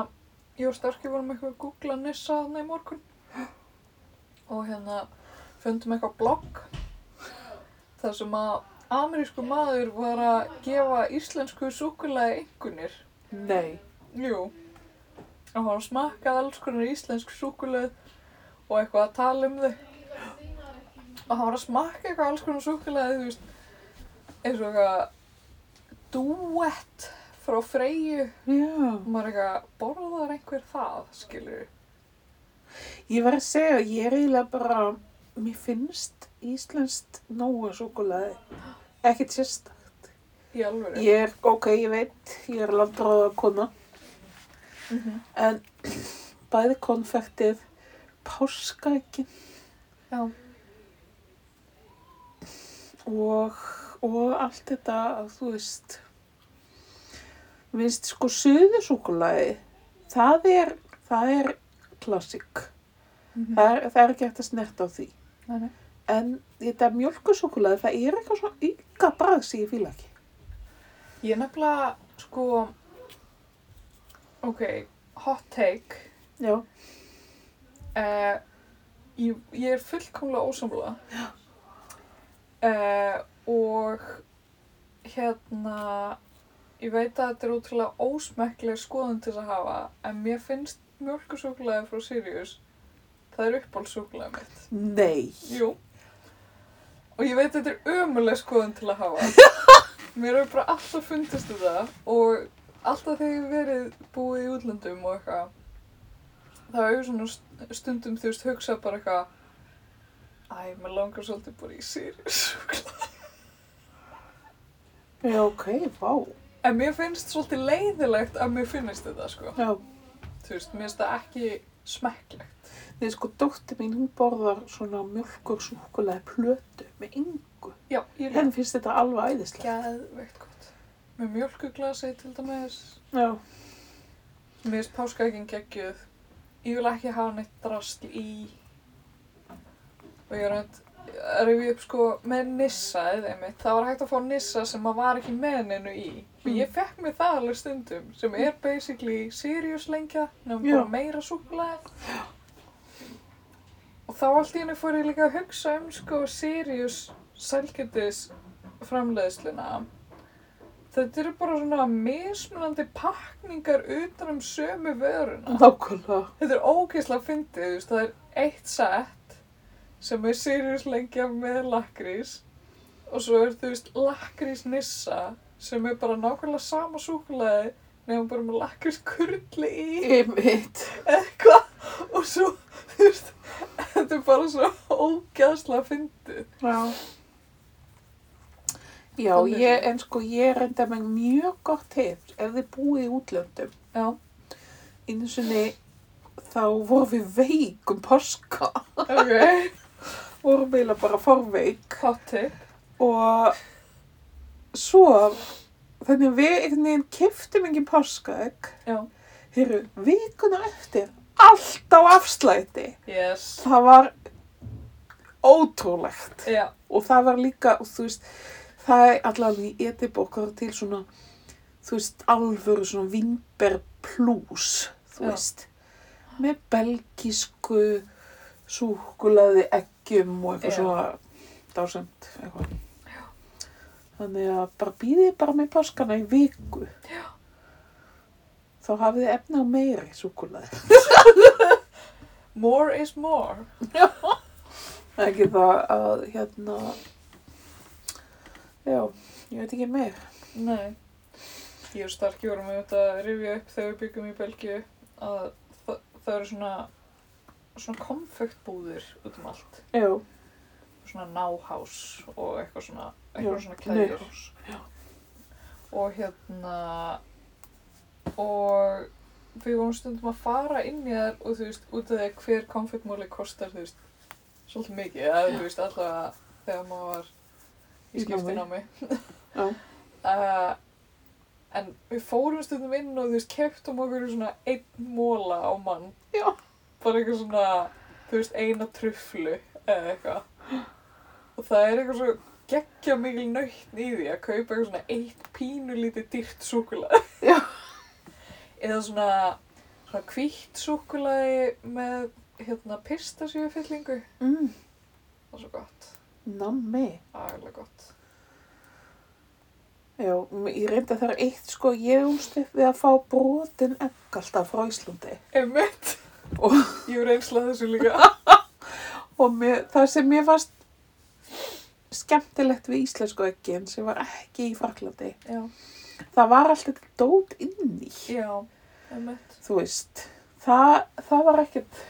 S2: ég og Starki vorum eitthvað að googla Nissa þarna í morgun og hérna fundum eitthvað blogg þar sem að amerísku maður var að gefa íslensku súkulæði einhvernir.
S1: Nei.
S2: Jú. Og hann smakkaði alls konar íslensk súkulæð og eitthvað að tala um þau. Og hann var að smakka eitthvað alls konar súkulæði, þú veist, eins og eitthvað duett frá Freyju.
S1: Já.
S2: Og maður er eitthvað, borðar einhver það, skilur
S1: Ég var að segja, ég er eiginlega bara, mér finnst íslenskt nógu súkulaði. Ekkert sérstakt.
S2: í alvöru.
S1: Ég er, ok, ég veit, ég er landráða kona.
S2: Mhm.
S1: En bæði konfektið, páskaekkin
S2: Já.
S1: og, og allt þetta, þú veist, mér finnst sko suðusúkulaði, það er, það er klassik.
S2: Mhm.
S1: Það er, það er ekki hægt að snerta á því.
S2: Nei, nei.
S1: En þetta mjölkusúkulaði, það er eitthvað svona ynga bragð sem ég fíla ekki.
S2: Ég er nefnilega, sko, ok, hot take.
S1: Já,
S2: Uh, ég, ég er fullkomlega ósamlega. Uh, og hérna, ég veit að þetta er útrúlega ósmekkleg skoðun til þess að hafa, en mér finnst mjölkusúklaði frá Sirius, það er uppbólsúklaði mitt.
S1: nei.
S2: Jú. Og ég veit þetta er ömuleg skoðun til að hafa. Mér hefur bara alltaf fundist þetta og alltaf þegar ég hef verið búið í útlöndum og eitthvað, þá hefur svona st- stundum þú veist hugsað bara eitthvað, æ, maður langar svolítið bara í Sirius.
S1: Já, ok, vá.
S2: en mér finnst svolítið leiðilegt að mér finnist þetta, sko.
S1: Já,
S2: Þú veist, mér finnst það ekki smekklegt.
S1: því sko dóttir mín, hún borðar svona mjölkusúkulaði plötu með yngu.
S2: Já, ég
S1: Henn
S2: lef
S1: finnst þetta alveg æðislega.
S2: geðveikt gott. Með mjölkuglasi til dæmis.
S1: Já.
S2: Mér finnst páskaeggin geggjuð. Ég vil ekki hafa neitt drasl í. Og ég er að að rifja upp sko með nissa eða einmitt. Það var hægt að fá nissa sem maður var ekki með neinu í. Og ég fekk mér það alveg stundum sem er basically Sirius lengja nefnum
S1: Já.
S2: bara meira súkulega. Og þá allt í henni fór ég líka að hugsa um sko Sirius sælgjöndis framleiðsluna. Þetta eru bara svona mismunandi pakningar utan um sömu vöruna.
S1: Nákvæmlega.
S2: Þetta er ógeðslega fyndið, þú veist, það er eitt sett sem er Sirius lengja með lakrís og svo er, þú veist, lakrís nissa sem er bara nákvæmlega sama súkulæði nefnum bara með lakrís kurli í
S1: Einmitt.
S2: eitthvað og svo, þú veist, þetta er bara svo ógeðslega fyndið.
S1: Já. Já,
S2: Þannig
S1: ég,
S2: svona.
S1: en sko ég reynda með mjög gott tips ef þið búið í útlöndum.
S2: Já,
S1: Einu sinni þá vorum við veik um páska.
S2: ok,
S1: Vorum eiginlega bara forveik.
S2: hot tip,
S1: og svo þannig að við einhvern veginn kiftum engin páskaegg
S2: já,
S1: hér vikuna eftir allt á afslæti
S2: yes,
S1: það var ótrúlegt
S2: já,
S1: og það var líka og þú veist það er allavega í Ediborg það er til svona þú veist alvöru svona vimber plus þú
S2: Já.
S1: veist með belgísku súkulaði eggjum og eitthvað
S2: Já.
S1: svona dásend eitthvað þannig að bara býðið bara með páskana í viku Já. þá hafið þið efna á meiri súkulaði
S2: more is more,
S1: ekki það að hérna já, ég veit ekki meir
S2: nei. ég og Starki vorum auðvitað að rifja upp þegar við byggum í Belgíu að það, það eru svona svona konfektbúðir út um allt
S1: Jú.
S2: svona náhás og eitthvað svona
S1: Já,
S2: eitthvað svona
S1: nauðhás,
S2: klæðjurhás og hérna og við vorum stundum að fara inn í þær og þú veist, út af því að hver konfektmóli kostar, þú veist, svolítið mikið eða þú veist, allavega þegar maður var
S1: Í
S2: í skiptinámi
S1: Já.
S2: uh, en við fórum stundum inn og þú veist, keftum okkur svona einn móla á mann
S1: Já.
S2: bara eitthvað svona, þú veist, eina trufflu eða eitthvað og það er eitthvað svo geggja mikil nöytn í því að kaupa eitthvað svona eitt pínulítið dýrt súkulag
S1: Já.
S2: eða svona svona hvítt súkulagi með hérna pistasjöfyllingu
S1: Mm.
S2: það er svo gott,
S1: Nammi.
S2: aðeinslega gott
S1: Já, m- ég reyndi að það er eitt sko, ég umst upp við að fá brotin egg alltaf frá Íslandi.
S2: Emmett
S1: Og-
S2: ég er einslað þessu líka
S1: Og mér, það sem mér fannst skemmtilegt við íslensku eggin sem var ekki í Fraklandi,
S2: já,
S1: það var alltaf dót inn í.
S2: já, Emmett
S1: Þú veist, það, það var ekkert,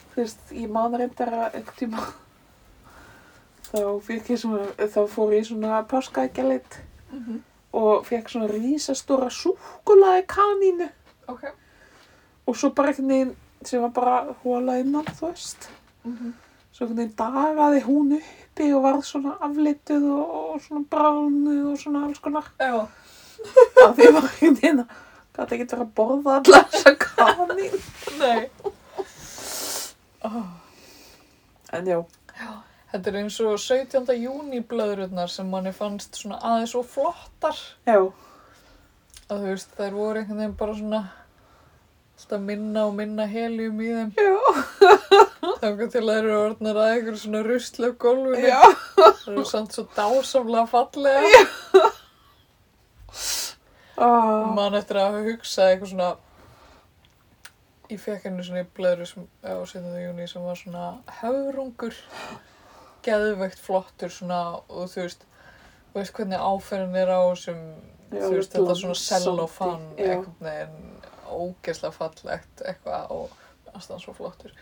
S1: þú veist, ég man reyndar að ekkert tíma. Þá, fékk ég svona, þá fór ég í svona páskaeggjalitt
S2: mm
S1: og fekk svona rísastóra súkulaði kanínu
S2: ok
S1: og svo bara einhvern veginn sem var bara hóla innan, þú veist.
S2: mm
S1: Svo einhvern veginn dagaði hún uppi og varð svona aflituð og, og svona bránuð og svona alls konar.
S2: já,
S1: Af því var einhvern veginn að gæti ekkert verið að borða allar þessa kanínu.
S2: nei
S1: En já,
S2: Þetta er eins og 17. júni blöðrurnar sem manni fannst svona aðeins og flottar
S1: já,
S2: að þú veist þær voru einhvern veginn bara svona alltaf minna og minna heljum í þeim
S1: já,
S2: þangar til að þær eru orðnar að einhverju svona rusli af gólfinu
S1: já,
S2: þær eru samt svo dásamlega fallega
S1: Ó,
S2: mann eftir að hafa hugsað eitthvað svona ég fekk henni svona í blöðru sem, á 17. júni sem var svona höfrungur geðveikt flottur svona og þú veist þú veist hvernig áferðin er á sem
S1: Já,
S2: þú veist þetta svona
S1: glansandi,
S2: cellofan
S1: já.
S2: einhvern veginn ógeðslega fallegt eitthvað og aðstæðan svo flottur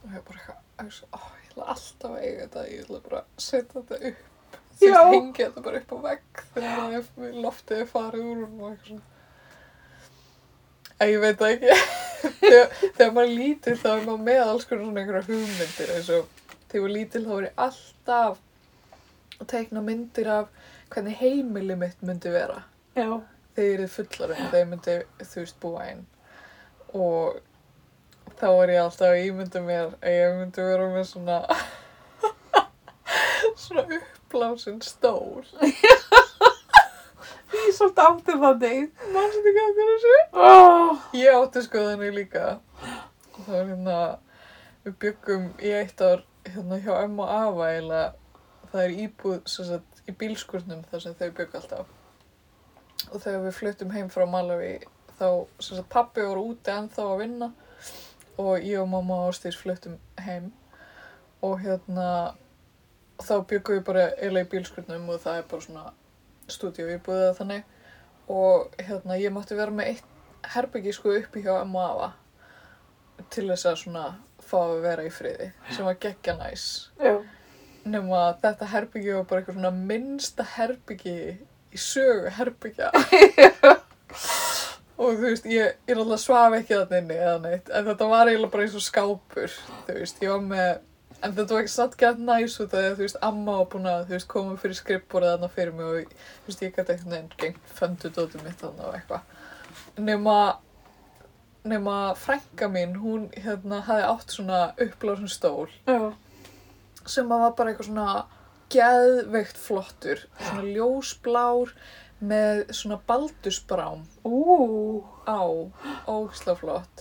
S2: og ég bara eitthvað að hugsa, ó, ég ætla alltaf að eiga þetta ég ætla bara að setja þetta upp þú
S1: Já.
S2: veist, hengja þetta bara upp á vegg þegar það er- loftið er farið úr honum og eitthvað svona Að ég veit það ekki. þegar, þegar maður er lítill þá er maður með alls konar svona einhverja hugmyndir eins og þegar ég var lítill þá var ég alltaf að teikna myndir af hvernig heimili mitt myndi vera
S1: já,
S2: þegar ég er fullarinn, þegar ég myndi þú veist búa einn og þá var ég alltaf að ímynda mér að ég myndi vera með svona svona uppblásin stól
S1: ég er svolítið áttið það deg.
S2: mannstu ekki að þessu
S1: Ó,
S2: Ég átti sko þannig líka og það var hérna við byggum í eitt ár hérna hjá ömmu og afa eiginlega það er íbúð sem sagt í bílskurnum þar sem þau bygg alltaf og þegar við fluttum heim frá Malawi þá sem sagt pappi voru úti ennþá að vinna og ég og mamma og Ástís fluttum heim og hérna þá byggum við bara eiginlega í bílskurnum og það er bara svona stúdíu íbúðið þannig og hérna ég mátti vera með eitt herbyggi sko uppi hjá ömmu og afa til þess að svona fá að vera í friði sem var geggja næs
S1: já,
S2: nema að þetta herbyggi var bara eitthvað svona minnsta herbyggi í sögu herbyggja og þú veist ég, ég er alltaf svaf ekki þarna inni eða neitt en þetta var eiginlega bara eins og skápur þú veist ég var með en þetta var ekki satt gætt næs út af því að þú veist amma var búin að þú veist koma fyrir skrippborðið þarna fyrir mig og þú veist ég gæti einhvern veginn gengt föndu dótið mitt þarna og eitthvað nema nema frænka mín, hún hérna hafði átt svona uppblásun stól
S1: já,
S2: sem að var bara eitthvað svona geðveikt flottur svona ljósblár með svona baldusbrám
S1: ú,
S2: á, ógislega flott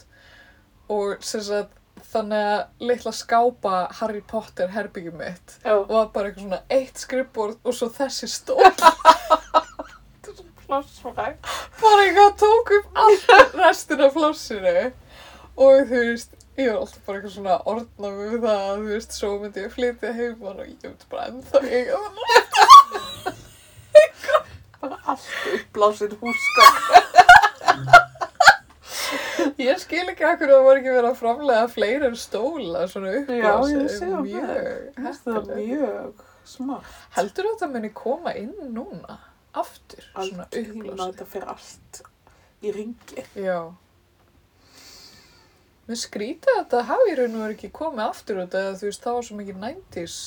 S2: og sem sagt þannig að litla skápa Harry Potter herbyggjum mitt
S1: já,
S2: var bara eitthvað svona eitt skrifborð og svo þessi stól
S1: plássfræk.
S2: bara eitthvað tók upp allt restin af flossinu og þú veist, ég var alltaf bara eitthvað svona orðna við það að þú veist, svo myndi ég flytja heimann og ég myndi bara ennþá eiga þannig
S1: bara allt uppblásið húsgögn.
S2: Ég skil ekki akkur að það var ekki verið að framlega fleiri en stóla svona
S1: ég
S2: uppblásið.
S1: sé það.
S2: Mjög
S1: Mér finnst Það er
S2: heppilegt.
S1: mjög smart.
S2: Heldur þú að það muni koma inn núna? Aftur, svona
S1: Allt tíma
S2: uppblásið.
S1: þetta fyrir allt í ringi.
S2: Já. Mér skrýta að þetta hafi í raun og verið ekki komið aftur út eða þú veist það var svo mikið 90s.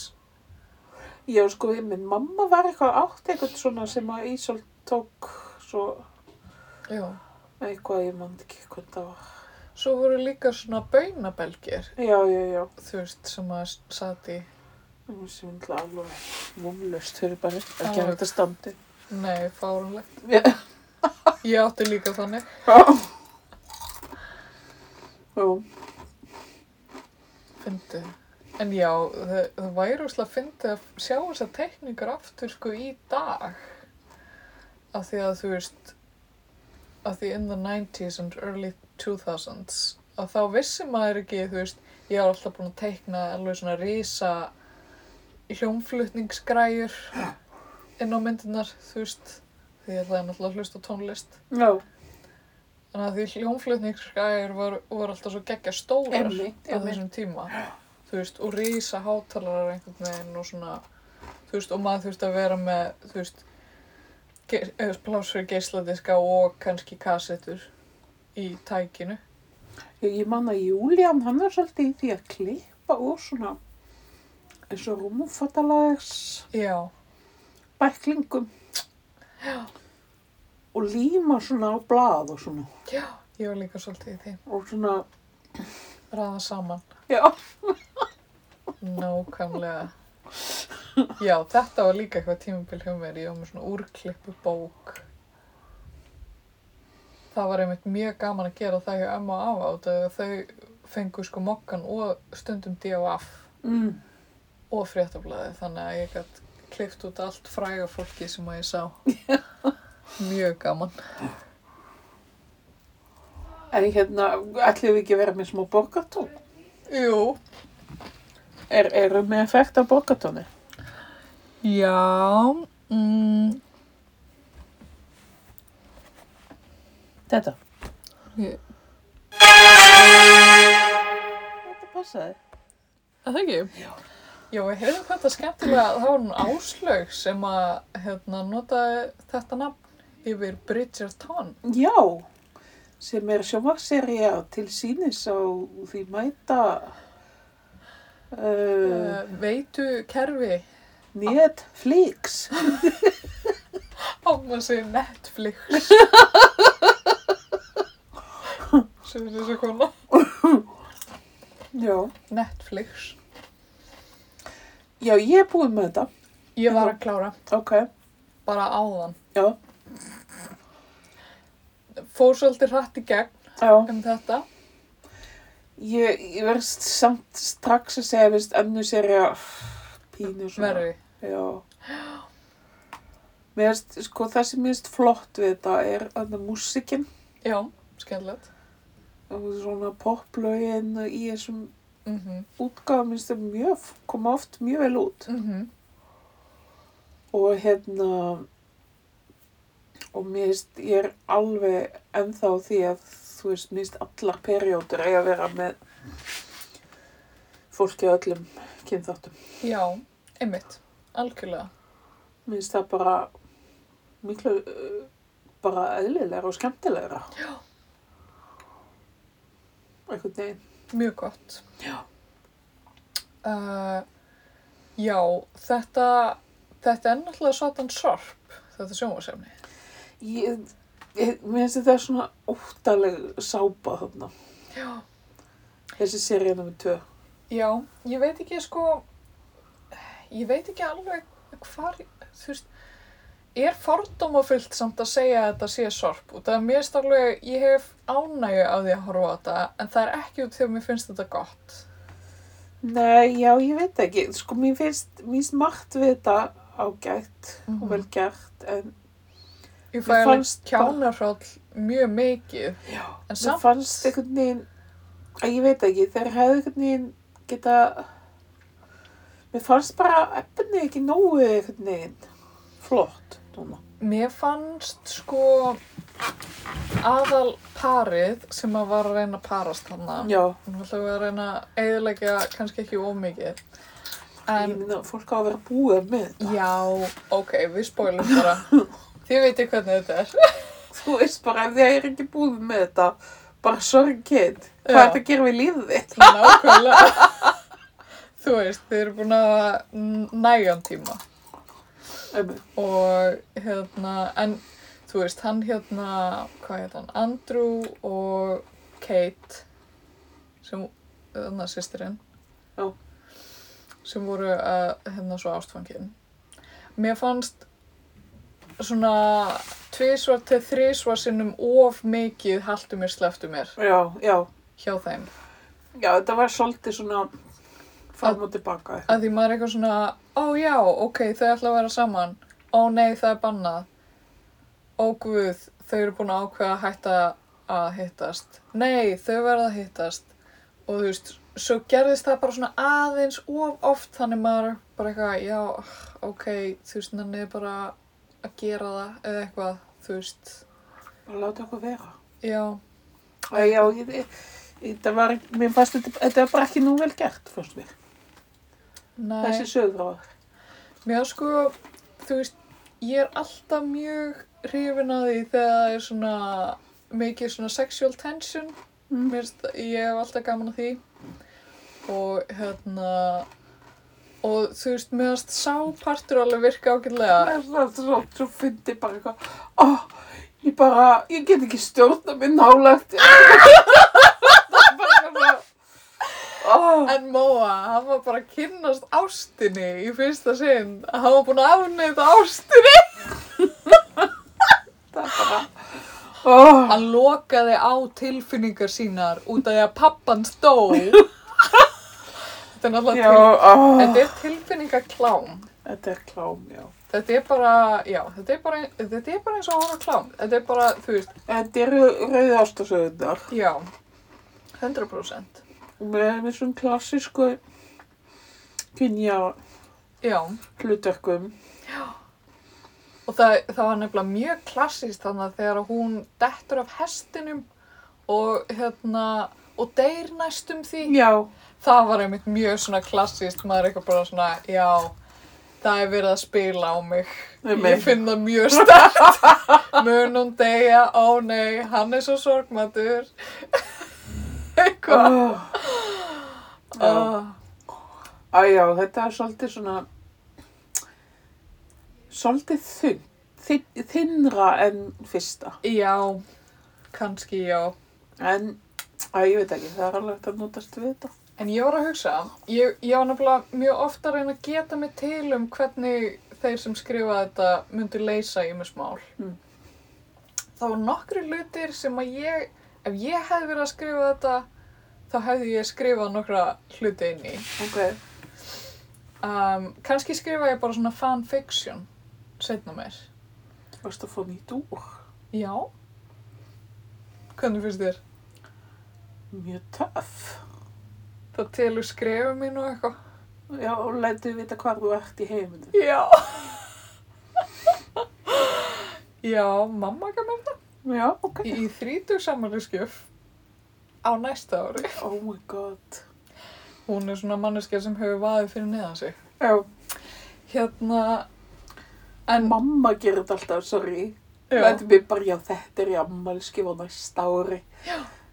S1: Já, sko, minn mamma var eitthvað átt eitthvað svona sem að Ísolt tók svo
S2: Já.
S1: eitthvað, ég man ekki hvað það var.
S2: Svo voru líka svona baunabelgir,
S1: Já, já, já.
S2: þú veist, sem að sat í,
S1: Það var sem undla alveg vumlust fyrir bara að
S2: Já.
S1: gera þetta standi.
S2: nei, fárunlegt.
S1: Já.
S2: Ég átti líka þannig.
S1: Já.
S2: Fyndið. En já, það, það væri úrslega fyndið að sjá þessar teikningar aftur sko í dag. Af því að þú veist, af því in the 90s and early 2000s, að þá vissi maður ekki, þú veist, ég var alltaf búin að teikna alveg svona risa hljómflutningsgræjur inn á myndirnar, þú veist, því ég ætlaði náttúrulega að hlusta á tónlist.
S1: Já,
S2: Þannig að því hljómflutningsgræjur voru, voru alltaf svo geggja stórar
S1: Einmitt,
S2: á
S1: einmitt.
S2: þessum tíma þú veist, og rísa hátalarar einhvern veginn og svona þú veist, og maður þurfti að vera með þú veist, ge- eh, pláss fyrir geisladiska og kannski kassettur í tækinu
S1: Ég, ég man að Júlían, hann var svolítið í því að klippa úr svona eins og rúmfattalags
S2: já,
S1: bæklingum. Já. Og líma svona á blað og svona.
S2: já, ég var líka svolítið í því
S1: Og svona,
S2: raða saman,
S1: já,
S2: nákvæmlega já, þetta var líka eitthvað tímabil hjá mér, ég var með svona úrklippu bók það var einmitt mjög gaman að gera það hjá Emma og Ava út af því að þau fengu sko mokkan og stundum D.O.F.
S1: mm.
S2: og fréttablaði þannig að ég gætt klift út allt fræga fólki sem að ég sá mjög gaman
S1: En hérna, ætlum við ekki að vera með smá borgartón?
S2: Jú,
S1: Er, erum við effekt á borgartóni?
S2: já mm,
S1: Þetta?
S2: Ég-
S1: Þetta passaði.
S2: að það ekki? Já Já, við heyrðum þetta skemmtilega það var hún Áslaug sem að hérna, notaði þetta nafn yfir Bridgerton
S1: Já, sem er sjómarserja til sínis á því mæta uh,
S2: uh, veitu kerfi
S1: Netflix.
S2: Áma sig Netflix sem er þessi kona
S1: Já.
S2: Netflix
S1: Já, ég er búin með þetta.
S2: Ég var að klára
S1: Ok,
S2: bara áðan
S1: já,
S2: fór svolítið hratt í gegn
S1: já.
S2: um þetta.
S1: Ég, ég verðst samt strax að segja, veist, annu serja pínu svona.
S2: Verri.
S1: Já. Mér finnst, sko, það sem mér finnst flott við þetta er að músikinn
S2: Já, skemmtilegt.
S1: og svona poplögin í þessum
S2: Mm -hmm.
S1: útgáðum minnst það mjög, koma oft mjög vel út.
S2: Mhm.
S1: Og hérna, og mér finnst, ég er alveg ennþá á því að, þú veist, mér finnst allar periódur eiga að vera með fólki á öllum kynþáttum.
S2: Já, einmitt. Algjörlega.
S1: Mér finnst það bara miklu, uh, bara eðlilegra og skemmtilegra. Já. Einhvern veginn.
S2: Mjög gott. Já. já, þetta, þetta er náttúrulega satan sorp, þetta sjónvarsefni.
S1: Ég, ég, mér finnst þetta svona óttaleg sápa þarna.
S2: Já.
S1: Þessi serið nummið tvö.
S2: Já, ég veit ekki sko, ég veit ekki alveg hvar, þú veist, er fordómafullt samt að segja að þetta sé sorp út af að mér erst alveg, ég hef ánægju af því að horfa á þetta en það er ekki út þegar mér finnst þetta gott.
S1: Nei, já, ég veit ekki. Sko, mér finnst, mér finnst margt við þetta ágætt
S2: Mhm.
S1: og vel gert, en
S2: Ég fæ
S1: Mér
S2: alveg
S1: fannst bara-
S2: kjánarhróll mjög mikið
S1: já, mér
S2: en samt,
S1: fannst einhvern veginn, að ég veit ekki, þeir hefðu einhvern veginn geta, mér fannst bara efni ekki nógu einhvern veginn flott núna.
S2: Mér fannst sko aðal parið sem að var að reyna að parast þarna.
S1: Já,
S2: Nú ætlum við að reyna að eðilegja kannski ekki ómikið.
S1: ég
S2: En
S1: meina, fólk á að vera búið með þetta.
S2: já, ok, við spólum bara. Þið veitir hvernig þetta er.
S1: Þú veist bara, ef ég er ekki búið með þetta, bara sorry kid, hvað
S2: Já.
S1: er þetta að gera við lífið þitt?
S2: Nákvæmlega. Þú veist, þið eru búin að nægjan tíma.
S1: Einmitt.
S2: og hérna, en þú veist, hann hérna, hvað heit hann, Andrew og Kate, sem, þannig að sýstirinn,
S1: Já.
S2: sem voru að, hérna, svo ástfangin. Mér fannst svona tvísvar til þrísvar sinnum of mikið haltu mér, sleftu mér
S1: Já, já,
S2: hjá þeim.
S1: já, þetta var svolítið svona fram og tilbaka.
S2: að því maður er eitthvað svona ó já, ok, þau ætla að vera saman ó nei, það er bannað ó guð, þau eru búin að ákveða að hætta að hittast nei, þau verða að hittast og þú veist, svo gerðist það bara svona aðeins of oft þannig maður er bara eitthvað, já, ok þú veist, nannig bara að gera það eða eitthvað, þú veist
S1: Bara láta okkur vera.
S2: já,
S1: Æ, já, ég, ég, þetta var, mér fannst þetta, þetta var bara ekki nú vel gert, fyrst mér.
S2: nei
S1: Þessi sögur á.
S2: Mér sko, þú veist, ég er alltaf mjög hrifin að því þegar það er svona mikið svona sexual tension.
S1: Mm.
S2: Mér finnst, ég hef alltaf gaman að því. Og hérna, og þú veist, mér finnst sápartur alveg virka ágætlega.
S1: Það er svo, svo fyndi bara eitthvað, ó, ég bara, ég get ekki stjórna mér nálægt. Það er bara eitthvað, ó,
S2: En Móa, hann var bara að kynnast ástinni í fyrsta sinn. Hann var búinn að afneita ástinni.
S1: það er bara, ó.
S2: Hann lokaði á tilfinningar sínar út af því að pappan stó. Þetta er náttúrulega
S1: Já,
S2: til
S1: ó,
S2: Þetta er tilfinningaklám.
S1: þetta er klám, já.
S2: Þetta er bara, já, þetta er bara, þetta er bara eins og að horfa á klám. Þetta er bara, þú veist,
S1: Þetta eru rauði ástasöðunar
S2: já, 100%.
S1: og með þessum klassísku kynja
S2: Já,
S1: hlutarkum.
S2: og það, það var nefnilega mjög klassíst þannig að þegar hún dettur af hestinum og, hérna, og deyr næstum því.
S1: Já,
S2: Það var einmitt mjög svona klassíst, maður er eitthvað bara svona, já, það er verið að spila á mig.
S1: Einmitt.
S2: Ég finn það mjög stært. Munum deyja, ó nei, hann er svo sorgmættur. Eitthvað.
S1: ó, ó.
S2: Ah,
S1: Æ, já, þetta er svolítið svona, svolítið þunn, þinn, þinnra en fyrsta.
S2: já, kannski já.
S1: En, æ, ég veit ekki, það er alveg hægt að notast við þetta.
S2: En ég var að hugsa, ég, ég var nefnilega mjög ofta að reyna að geta mig til um hvernig þeir sem skrifa þetta myndu leysa í mjög smál.
S1: Mm.
S2: Það voru nokkri hlutir sem að ég, ef ég hefði verið að skrifa þetta, þá hefði ég skrifað nokkra hluti inn í.
S1: Ok,
S2: Um, kannski skrifa ég bara svona fanfiction, setna mér.
S1: varst að fá nýtt úr?
S2: Já. Hvernig finnst þér?
S1: Mjög töff.
S2: Það telur skrifa mín og eitthvað.
S1: Já, og lætið vita hvar þú ert í heiminu.
S2: Já. Já, mamma gaf mér það.
S1: Já, ok.
S2: Í, í þrítug samanlýskjöf á næsta ári.
S1: Oh my god.
S2: Hún er svona manneskja sem hefur vaðið fyrir neðan sig.
S1: Já.
S2: Hérna, en...
S1: Mamma gerir þetta alltaf, sorry.
S2: já,
S1: Lætum við bara, já, þetta er í ammælskif á næsta ári.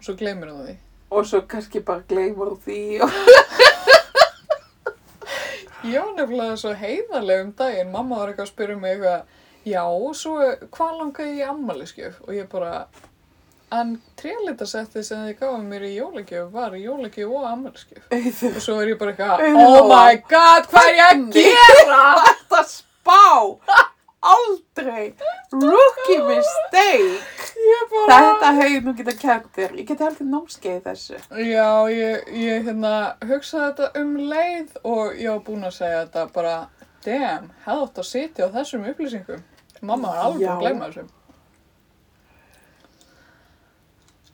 S2: svo gleymir hún því.
S1: Og svo kannski bara gleymur því og...
S2: Ég var nefnilega svo heiðarlega um daginn. Mamma var eitthvað að spyrja mig eitthvað, já, svo hvað langaði ég í ammaliðskjöf? Og ég bara, en trélitasetti sem þið gáði mér í jólagjöf var í jólagjöf og ammaliðskjöf.
S1: Auður,
S2: Og svo er ég bara eitthvað,
S1: Auður
S2: oh
S1: Lóa.
S2: my god, hvað er ég að gera?
S1: þetta spá! Aldrei! Rookie mistake!
S2: Ég bara,
S1: Þetta hefði nú getað kæmt þér. Ég geti heldur námskeið í þessu.
S2: já, ég, ég hérna, hugsaði þetta um leið og ég var búin að segja þetta bara, damn, hefði átt að sitja á þessum upplýsingum. Mamma var alveg búin að
S1: Já.
S2: gleyma þessum.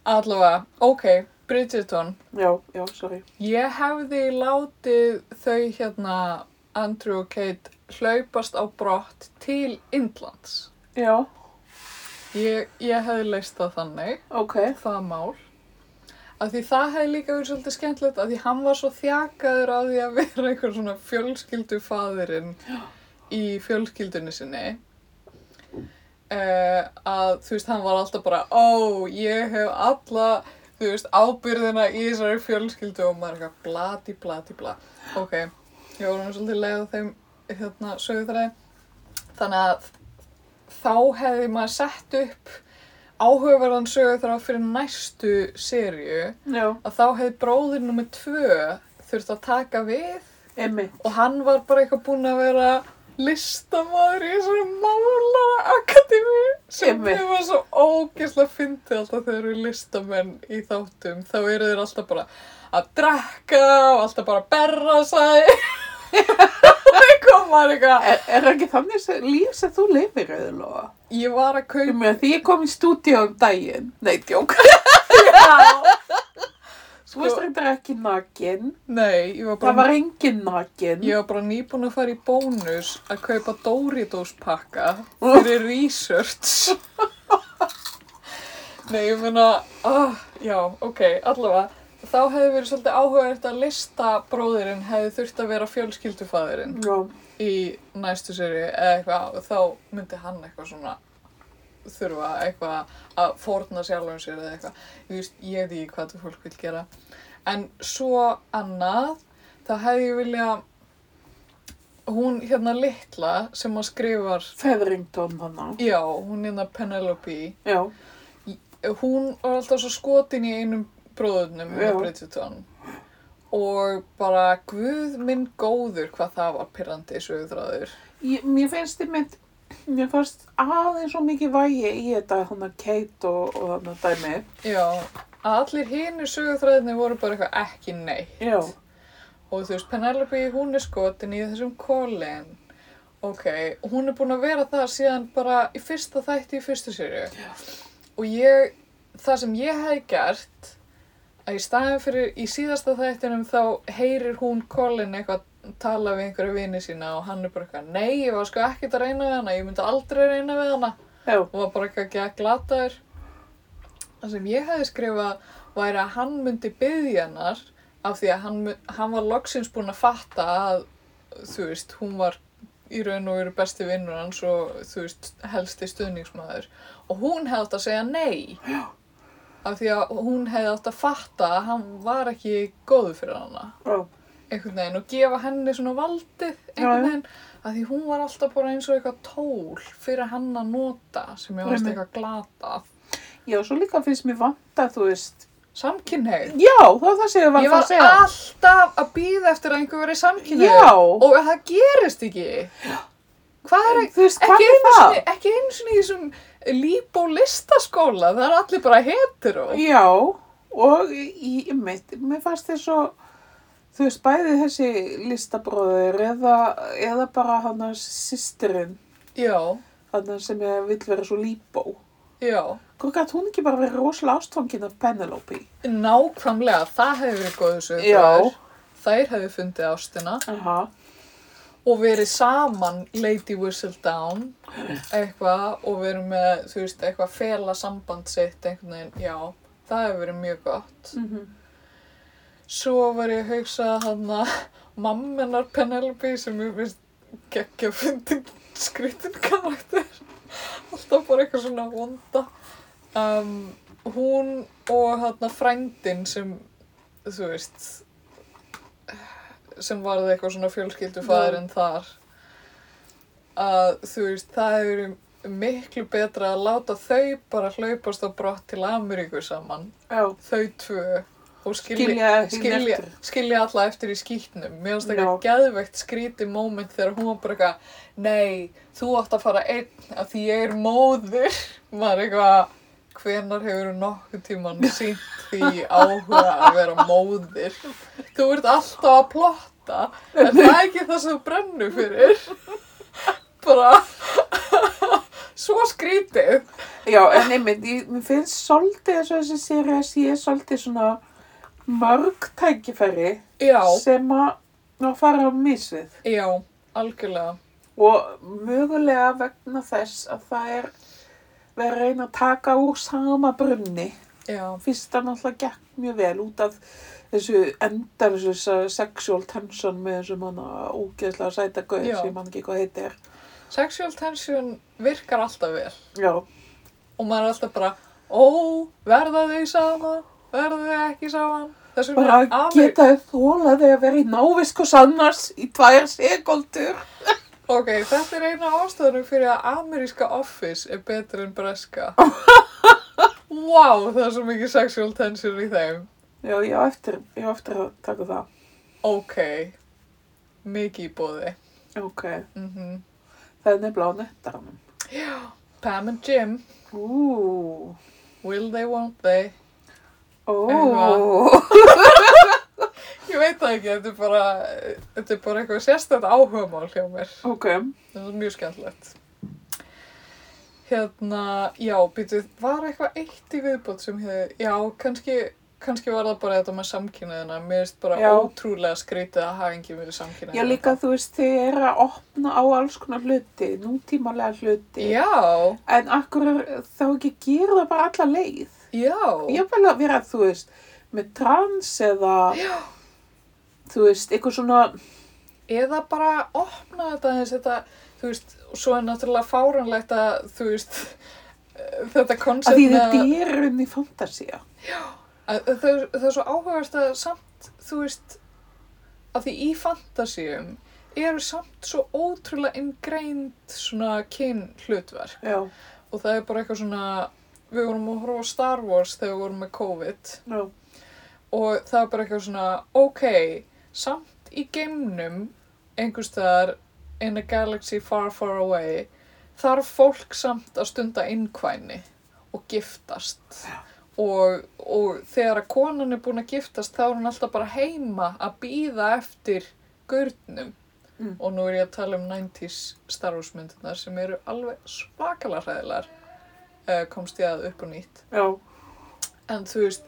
S2: Allavega, ok, Bridgerton,
S1: Já, já, sorry.
S2: Ég hefði látið þau hérna, Andrew og Kate, hlaupast á brott til Indlands.
S1: Já,
S2: Ég, ég hefði leist það þannig,
S1: ok.
S2: það mál. Af því það hefði líka verið svolítið skemmtilegt af því hann var svo þjakaður á því að vera einhver svona fjölskyldufaðurinn í fjölskyldunni sinni. Uh, að þú veist, hann var alltaf bara, ó, ég hef alla, þú veist, ábyrðina í þessari fjölskyldu og maður er eitthvað blati, blati, bla. Ok, ég voru nú svolítið leið á þeim, hérna, sögutræði. Þannig að þá hefði maður sett upp áhugaverðan sögu þar á fyrir næstu sériu
S1: Já,
S2: að þá hefði bróðir nummer tvö þurft að taka við
S1: emmi.
S2: og hann var bara eitthvað búinn að vera listamaður í þessari málara akademi sem
S1: Einmitt.
S2: þau var svo ógeðslega fyndið alltaf þegar þau eru listamenn í þáttum þá eru þeir alltaf bara að drekka og alltaf bara að berra sæ og komar eitthvað
S1: Er, er ekki þannig sem- líf sem þú lifir auðvitað?
S2: ég var að
S1: Ég
S2: kaupa
S1: meina því ég kom í stúdíu um daginn. Nei, djók. Þú
S2: Sko-
S1: veist reyndar ekki nakin.
S2: nei, ég var bara
S1: Það var engin nakin.
S2: Ég var bara nýbúin að fara í bónus að kaupa Doritos pakka fyrir research. Nei, ég meina, ah, já, ok, allavega. Þá hefði verið svolítið áhugavert að lista bróðirinn hefði þurft að vera fjölskyldufaðurinn
S1: Já,
S2: í næstu séri eða eitthvað, og þá myndi hann eitthvað svona þurfa eitthvað að forna sjálfum sér eða eitthvað. Ég veist, ég veit ekki hvað þú fólk vil gera. En svo annað, þá hefði ég vilja, hún hérna litla sem að skrifar,
S1: feðringtón hana.
S2: já, hún hérna Penelope,
S1: Já,
S2: hún var alltaf svo skotin í einum bróðurnum
S1: Já.
S2: með Bridgerton og bara guð minn góður hvað það var pirrandi sögðræður.
S1: ég, mér finnst þið mitt, mér fannst aðeins svo mikið vægi í þetta, hana Kate og, og hana dæmi.
S2: Já, að allir hinnir sögurþræðinni voru bara eitthvað ekki neitt.
S1: Já,
S2: Og þú veist, Penelope, hún er skotin í þessum Colin. Ok, hún er búin að vera það síðan bara í fyrsta þætti í fyrstu sériu. Og ég, það sem ég hef gert, að í staðin fyrir í síðasta þættinum þá heyrir hún Colin eitthvað tala við einhverju vini sína og hann er bara eitthvað, nei, ég var sko ekkert að reyna við hana, ég myndi aldrei reyna við hana
S1: já,
S2: og var bara eitthvað að glataður. Það sem ég hefði skrifað væri að hann myndi byðja hennar af því að hann, mun- hann var loksins búinn að fatta að, þú veist, hún var í raun og veru besti vinnur hans og, þú veist, helsti stuðningsmaður. Og hún hefði átt að segja nei. Já. Af því að hún hefði átt að fatta að hann var ekki góður fyrir hana
S1: já,
S2: einhvern veginn og gefa henni svona valdið einhvern
S1: Já, já.
S2: veginn að því hún var alltaf bara eins og eitthvað tól fyrir hann að nota sem ég varst
S1: Einmitt.
S2: eitthvað glatað
S1: já, svo líka finnst mér vanta, þú veist.
S2: samkynneið
S1: Já, það var það sem ég var
S2: ég
S1: það að
S2: var
S1: segja.
S2: alltaf að býða eftir að einhver verið samkynneið
S1: Já.
S2: og það gerist ekki hvað er
S1: Þú veist,
S2: ekki
S1: hvað er
S2: einu,
S1: það?
S2: sinni, ekki einu sinni í þessum líbó listaskóla það er allir bara hetero
S1: Já, og í, mitt, mér fannst þér svo, þú veist, bæði þessi listabróður eða, eða bara hann að sýstirinn,
S2: já,
S1: hann sem ég vill vera svo líbó.
S2: já
S1: Hvað gæti hún ekki bara verið rosalega ástfangin af Penelope?
S2: nákvæmlega, það hefði verið góðu
S1: Já.
S2: sögur þær hefði fundið ástina
S1: Aha,
S2: og verið saman Lady Whistledown eitthvað og verið með þú veist eitthvað fela samband sitt einhvern veginn, já, það hefur verið mjög gott
S1: Mhm.
S2: svo var ég að hugsa hann að mammenar Penelope sem ég finnst geggja fundin skrítin karakter alltaf bara eitthvað svona vonda um, hún og hann frændin sem þú veist sem varði eitthvað svona fjölskyldufæðurinn þar að þú veist, það hefur verið miklu betra að láta þau bara hlaupast á brott til Ameríku saman
S1: já,
S2: þau tvö og skilja,
S1: skilja hinn
S2: skilja,
S1: eftir.
S2: skilja alla eftir í skýtnum mér finnst
S1: Já.
S2: eitthvað geðveikt skrítið moment þegar hún var bara eitthvað nei, þú átt að fara einn af því ég er móðir maður eitthvað hvenar hefur nokkuð tíman sínt því áhuga að vera móðir þú ert alltaf að plotta en það er ekki það sem þú brennur fyrir bara svo skrítið
S1: Já, en einmitt, ég, mér finnst svolítið eins og þessi séri að sé svolítið svona mörg tækifæri
S2: já,
S1: sem að að fara á misvið.
S2: já, algjörlega
S1: og mögulega vegna þess að það er verið að reyna að taka úr sama brunni
S2: Já,
S1: fyrsta náttúrulega gekk mjög vel út af þessu endar þessu sexual tension með þessum hana ógeðslega sæta gauð
S2: Já.
S1: sem mann ekki hvað heitir
S2: sexual tension virkar alltaf vel
S1: já,
S2: og maður er alltaf bara, ó, verða þau saman, verða þau ekki saman. Þess vegna
S1: bara
S2: er
S1: að
S2: Ameríku-
S1: geta þau þóla þau að vera í návisku sannars í tvær sekundur
S2: Ok, þetta er eina ástæðanum fyrir að ameríska office er betur en breska. wow, það er svo mikið sexual tension í þeim.
S1: já, ég á eftir, ég á eftir að taka það
S2: Ok, mikið í bóði.
S1: ok,
S2: Mm
S1: það er nefnilega á nettaranum
S2: Pam and Jim,
S1: ú,
S2: will they, won't they?
S1: ó
S2: Eitthvað. Ég veit það ekki, þetta er bara, þetta er bara eitthvað sérstætt áhugamál hjá mér.
S1: ok,
S2: Það er mjög skemmtilegt. Hérna, já, býtu, var eitthvað eitt í viðbót sem hefði, já, kannski, kannski var það bara þetta með samkynniðina. Mér finnst bara
S1: Já.
S2: ótrúlega skrítið að hafa engin verið samkynniðina.
S1: já líka þú veist þau eru að opna á alls konar hluti nútímalega hluti
S2: Já,
S1: En akkur þá ekki gera það bara alla leið?
S2: já,
S1: Ég vil að vera, þú veist, með trans eða,
S2: já.
S1: þú veist, eitthvað svona,
S2: Eða bara opna þetta eins þetta, þú veist, og svo er náttúrulega fáranlegt að, þú veist, þetta koncept
S1: að því þetta er unni fantasía.
S2: Að- að Það, er- það er svo áhugast að samt, þú veist, að því í fantasíum eru samt svo ótrúlega inngreind svona kyn hlutverk
S1: Já,
S2: og það er bara eitthvað svona, við vorum að horfa á Star Wars þegar við vorum með COVID
S1: já,
S2: og það er bara eitthvað svona, ok, samt í geimnum, einhvers staðar, in a galaxy far far away, þarf fólk samt að stunda innkvæni og giftast. Og, og þegar að konan er búin að giftast þá er hún alltaf bara heima að býða eftir gurnum.
S1: Mm.
S2: Og nú er ég að tala um 90s starfsmyndunar sem eru alveg svakalega hræðilegar, eh, komst ég að upp og nýtt.
S1: já,
S2: En þú veist,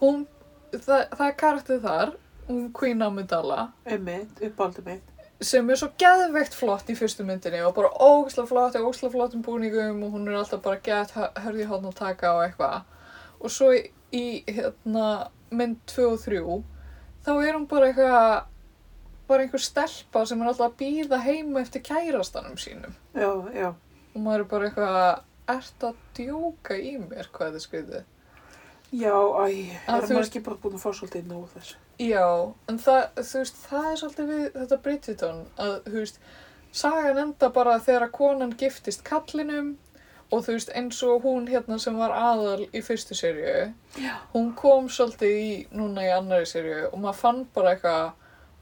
S2: hún, það, það er karakter þar, hún Queen Amidala,
S1: einmitt, uppáldi mitt.
S2: sem er svo geðveikt flott í fyrstu myndinni og bara ógislega flott og ógislega flott um búningum og hún er alltaf bara gett hörði hóðn að taka og eitthvað. Og svo í, í hérna, mynd 2 og 3, þá er hún bara eitthvað, bara einhver stelpa sem er alltaf að býða heima eftir kærastanum sínum.
S1: Já, já,
S2: Og maður er bara eitthvað, ert að djóka í mér hvað þið skriðið?
S1: já, æ, er
S2: Að þú
S1: maður
S2: veist-
S1: ekki bara búin að fá svolítið nóg þessu?
S2: Já, en það, þú veist, það er svolítið við þetta Bridgerton að, þú veist, sagan enda bara þegar að konan giftist kallinum og þú veist, eins og hún hérna sem var aðal í fyrstu serju, hún kom svolítið í núna í annari serju og maður fann bara eitthvað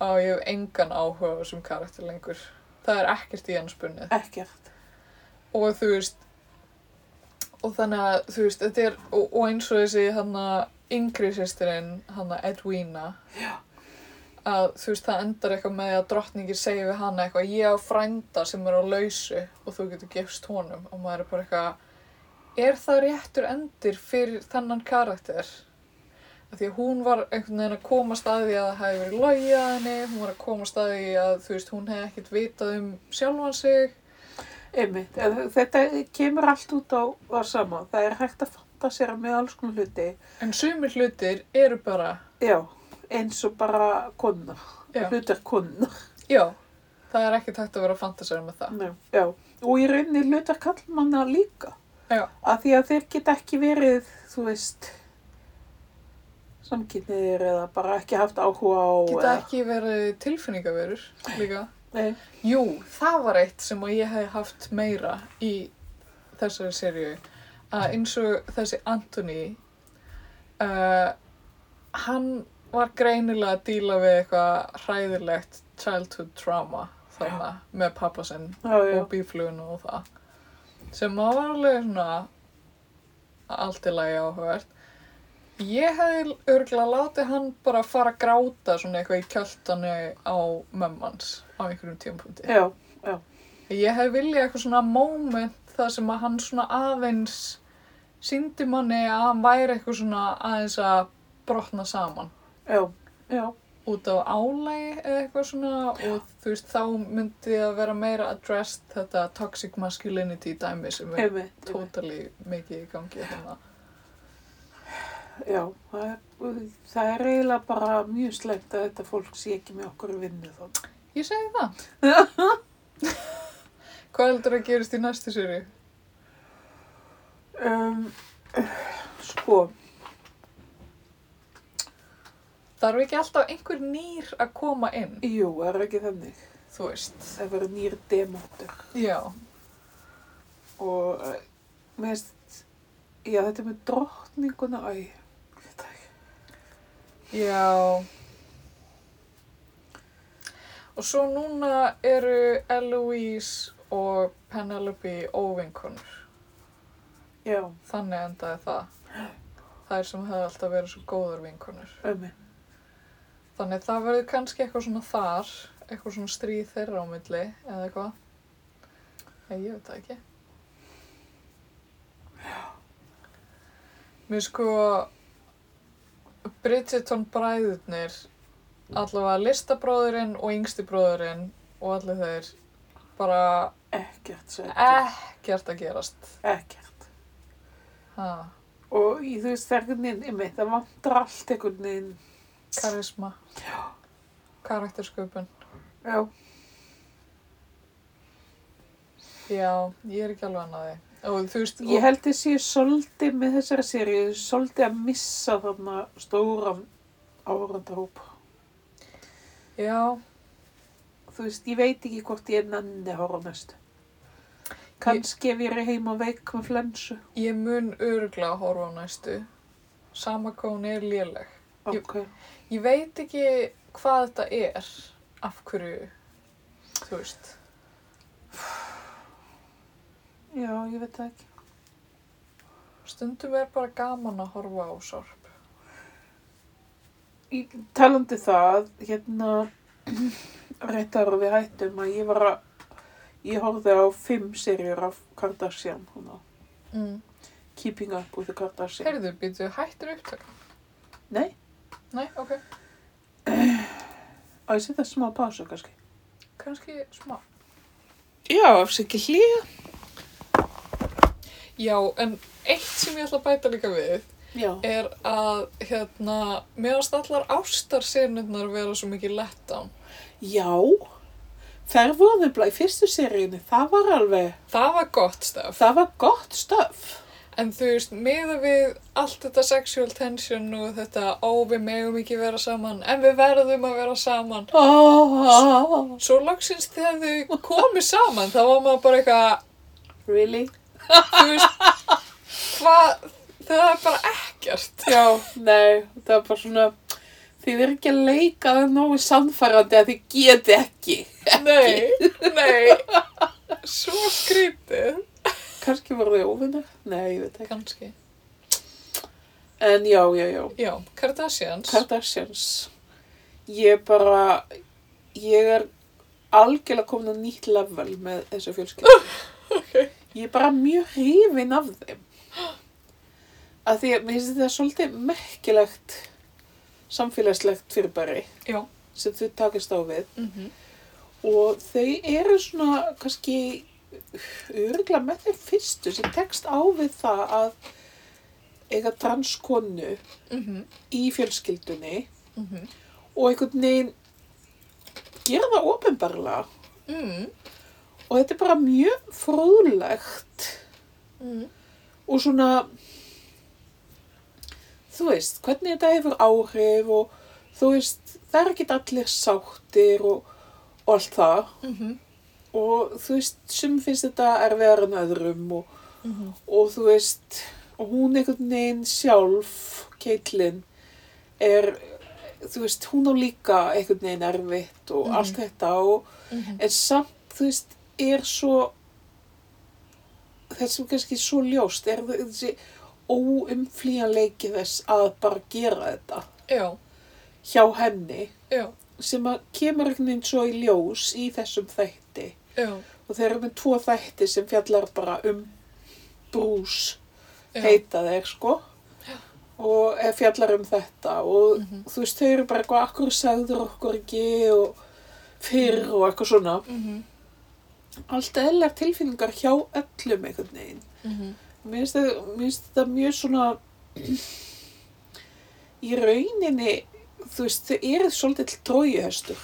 S2: að ég hef engan áhuga á þessum karakter lengur. Það er ekkert í hans bunnið
S1: Ekkert.
S2: og þú veist og þannig að þú veist þetta er og, og eins og þessi hana yngri sýstirinn hana Edwina að þú veist það endar eitthvað með að drottningi segi við hana eitthvað ég á frænda sem er á lausu og þú getur gefst honum og maður er bara eitthvað er það réttur endir fyrir þennan karakter að því að hún var einhvern veginn að koma staði að það hefði verið logið að henni hún var að koma staði að þú veist hún hefði ekkert vitað um sjálfan sig
S1: Einmitt, en þetta kemur allt út á það sama. Það er hægt að fantasera með alls konar hluti.
S2: En sumir hlutir eru bara,
S1: Já, eins og bara konar,
S2: Já.
S1: hlutir konar.
S2: já, það er ekki tægt að vera fantasæri með það.
S1: Nei, já, og í rauninni hlutar kallmanna líka.
S2: Já.
S1: Að því að þeir geta ekki verið, þú veist, samkynniðir eða bara ekki haft áhuga á...
S2: Geta ekki verið tilfinningaverur líka.
S1: Nei,
S2: Jú, það var eitt sem að ég hef haft meira í þessari seríu. Að eins og þessi Anthony, uh, hann var greinilega að díla við eitthvað hræðilegt childhood trauma þarna með pappa sinn
S1: já, já,
S2: og bífluguna og það sem að var alveg svona allt í lagi áhugavert ég hefði örgulega látið hann bara fara að gráta svona eitthvað í kjöltanu á mömmans á einhverjum tímapunkti
S1: já,
S2: ég hefði viljað eitthvað svona moment þar sem að hann svona aðeins síndi manni að hann væri eitthvað svona aðeins að brotna saman
S1: já, já,
S2: út á álægi eða eitthvað svona og þú veist þá myndi að vera meira addressed þetta toxic masculinity dæmi sem er
S1: Einmitt, einmitt.
S2: totally mikið í gangi hérna.
S1: Já, það er, það er eiginlega bara mjög slæmt að þetta fólk sé ekki með okkur í vinnu þá.
S2: Ég segi það. Hvað heldur að gerist í næstu séri?
S1: Um, sko,
S2: Þarf ekki alltaf einhver nýr að koma inn,
S1: jú, það er ekki þannig.
S2: þú veist.
S1: Það verður nýr demantur
S2: Já,
S1: og eh, mér finnst, já þetta með drottninguna, æ, ég veit það ekki.
S2: já. Og svo núna eru Eloise og Penelope óvinkonur.
S1: Já,
S2: Þannig endaði það. Það er sem hefði alltaf verið svo góður vinkonur.
S1: ömmi.
S2: Þannig það verður kannski eitthvað svona þar, eitthvað svona stríð þeirra á milli eða eitthvað. Nei, ég veit það ekki. Mér sko, Bridgerton bræðurnir, allavega listabróðurinn og yngsti bróðurinn og allir þeir, bara
S1: Ekkert sætt.
S2: ekkert að gerast.
S1: Ekkert.
S2: Ha,
S1: Og í þú veist, það er einhvern veginn, einmitt, það vantar allt einhvern veginn.
S2: karisma, karaktersköpun.
S1: Já,
S2: Já, ég er ekki alveg annað því. Og þú veist,
S1: ég held ég sé svolítið með þessari séri, svolítið að missa þarna stóran árandarhóp.
S2: já,
S1: Þú veist, ég veit ekki hvort ég nenni að horfa á næstu. Kanski ef ég er heima veik með flensu.
S2: ég mun öruglega horfa á næstu. Sama hvað hún er léleg. Jú.
S1: Ok.
S2: Ég veit ekki hvað þetta er, af hverju, þú veist.
S1: Já, ég veit það ekki.
S2: Stundum er bara gaman að horfa á sorp.
S1: Í talandi um það, hérna, réttar og við hættum að ég var að, ég horfði á fimm serjur af Kardashian, hana,
S2: Mm.
S1: Keeping Up with the Kardashian.
S2: Heyrðu, býtu, hættir upptök.
S1: Nei,
S2: Nei, ok,
S1: á ég setja smá pásu kannski.
S2: kannski smá.
S1: Já, eftir ekki hlýja.
S2: Já, en eitt sem ég ætla að bæta líka við
S1: Já,
S2: er að, hérna, meðast allar ástarsenurnar vera svo mikið lett án.
S1: já, þær voru nefnilega í fyrstu seríunni, það var alveg,
S2: Það var gott stöf.
S1: það var gott stöf.
S2: En þú veist, meða við allt þetta sexual tension og þetta ó, við megum ekki vera saman, en við verðum að vera saman.
S1: Oh,
S2: Svo loksins þegar þau komu saman, þá var maður bara eitthvað,
S1: really?
S2: þú veist, hvað, það er bara ekkert.
S1: Já, nei, það er bara svona, þið er ekki að leika það nógu samfærandi að þið geti ekki.
S2: Nei, nei, svo skrítið.
S1: Kanski voru þið óvinnar? Nei, ég veit ekki.
S2: Kanski.
S1: En já, já, já,
S2: Já, Kardashians.
S1: Kardashians, ég bara, ég er algjörlega komin á nýtt level með þessu fjölskyldu.
S2: Ok.
S1: Ég er bara mjög hrifin af þeim. Að því að mér finnst þetta svolítið merkilegt samfélagslegt fyrirbæri
S2: Já.
S1: sem þau takast á við
S2: Mm
S1: og þau eru svona kannski örgla með þeim fyrstu sem tekst á við það að eiga transkonu
S2: Mhm.
S1: í fjölskyldunni
S2: Mhm.
S1: og einhvern veginn gera það ofinbarlega
S2: Mm.
S1: og þetta er bara mjög fróðlegt
S2: Mm.
S1: og svona þú veist, hvernig þetta hefur áhrif og þú veist, það er ekki allir sáttir og, og allt það
S2: Mhm.
S1: og þú veist, sum finnst þetta erfiðar en öðrum og,
S2: Mhm.
S1: og þú veist, og hún einhvern veginn sjálf, Caitlyn er, þú veist, hún á líka einhvern veginn erfitt og
S2: Mhm.
S1: allt þetta og
S2: Mhm.
S1: en samt, þú veist, er svo það sem kannski er svo ljóst er þau- þessi óumflýjanleiki þess að bara gera þetta
S2: Já,
S1: hjá henni
S2: já,
S1: sem að kemur einhvern veginn svo í ljós í þessum þætti
S2: já,
S1: og þeir eru með tvo þætti sem fjallar bara um brús
S2: já.
S1: heita þeir sko og eh, fjallar um þetta og þú veist, þau eru bara eitthvað akkur segður okkur ekki og fyrr og eitthvað svona
S2: Mhm.
S1: allt eðlar tilfinningar hjá öllum einhvern veginn
S2: Mhm.
S1: Mér finnst þau- mér finnst þetta mjög svona í rauninni, þú veist, þau eru svolítið trójuhestur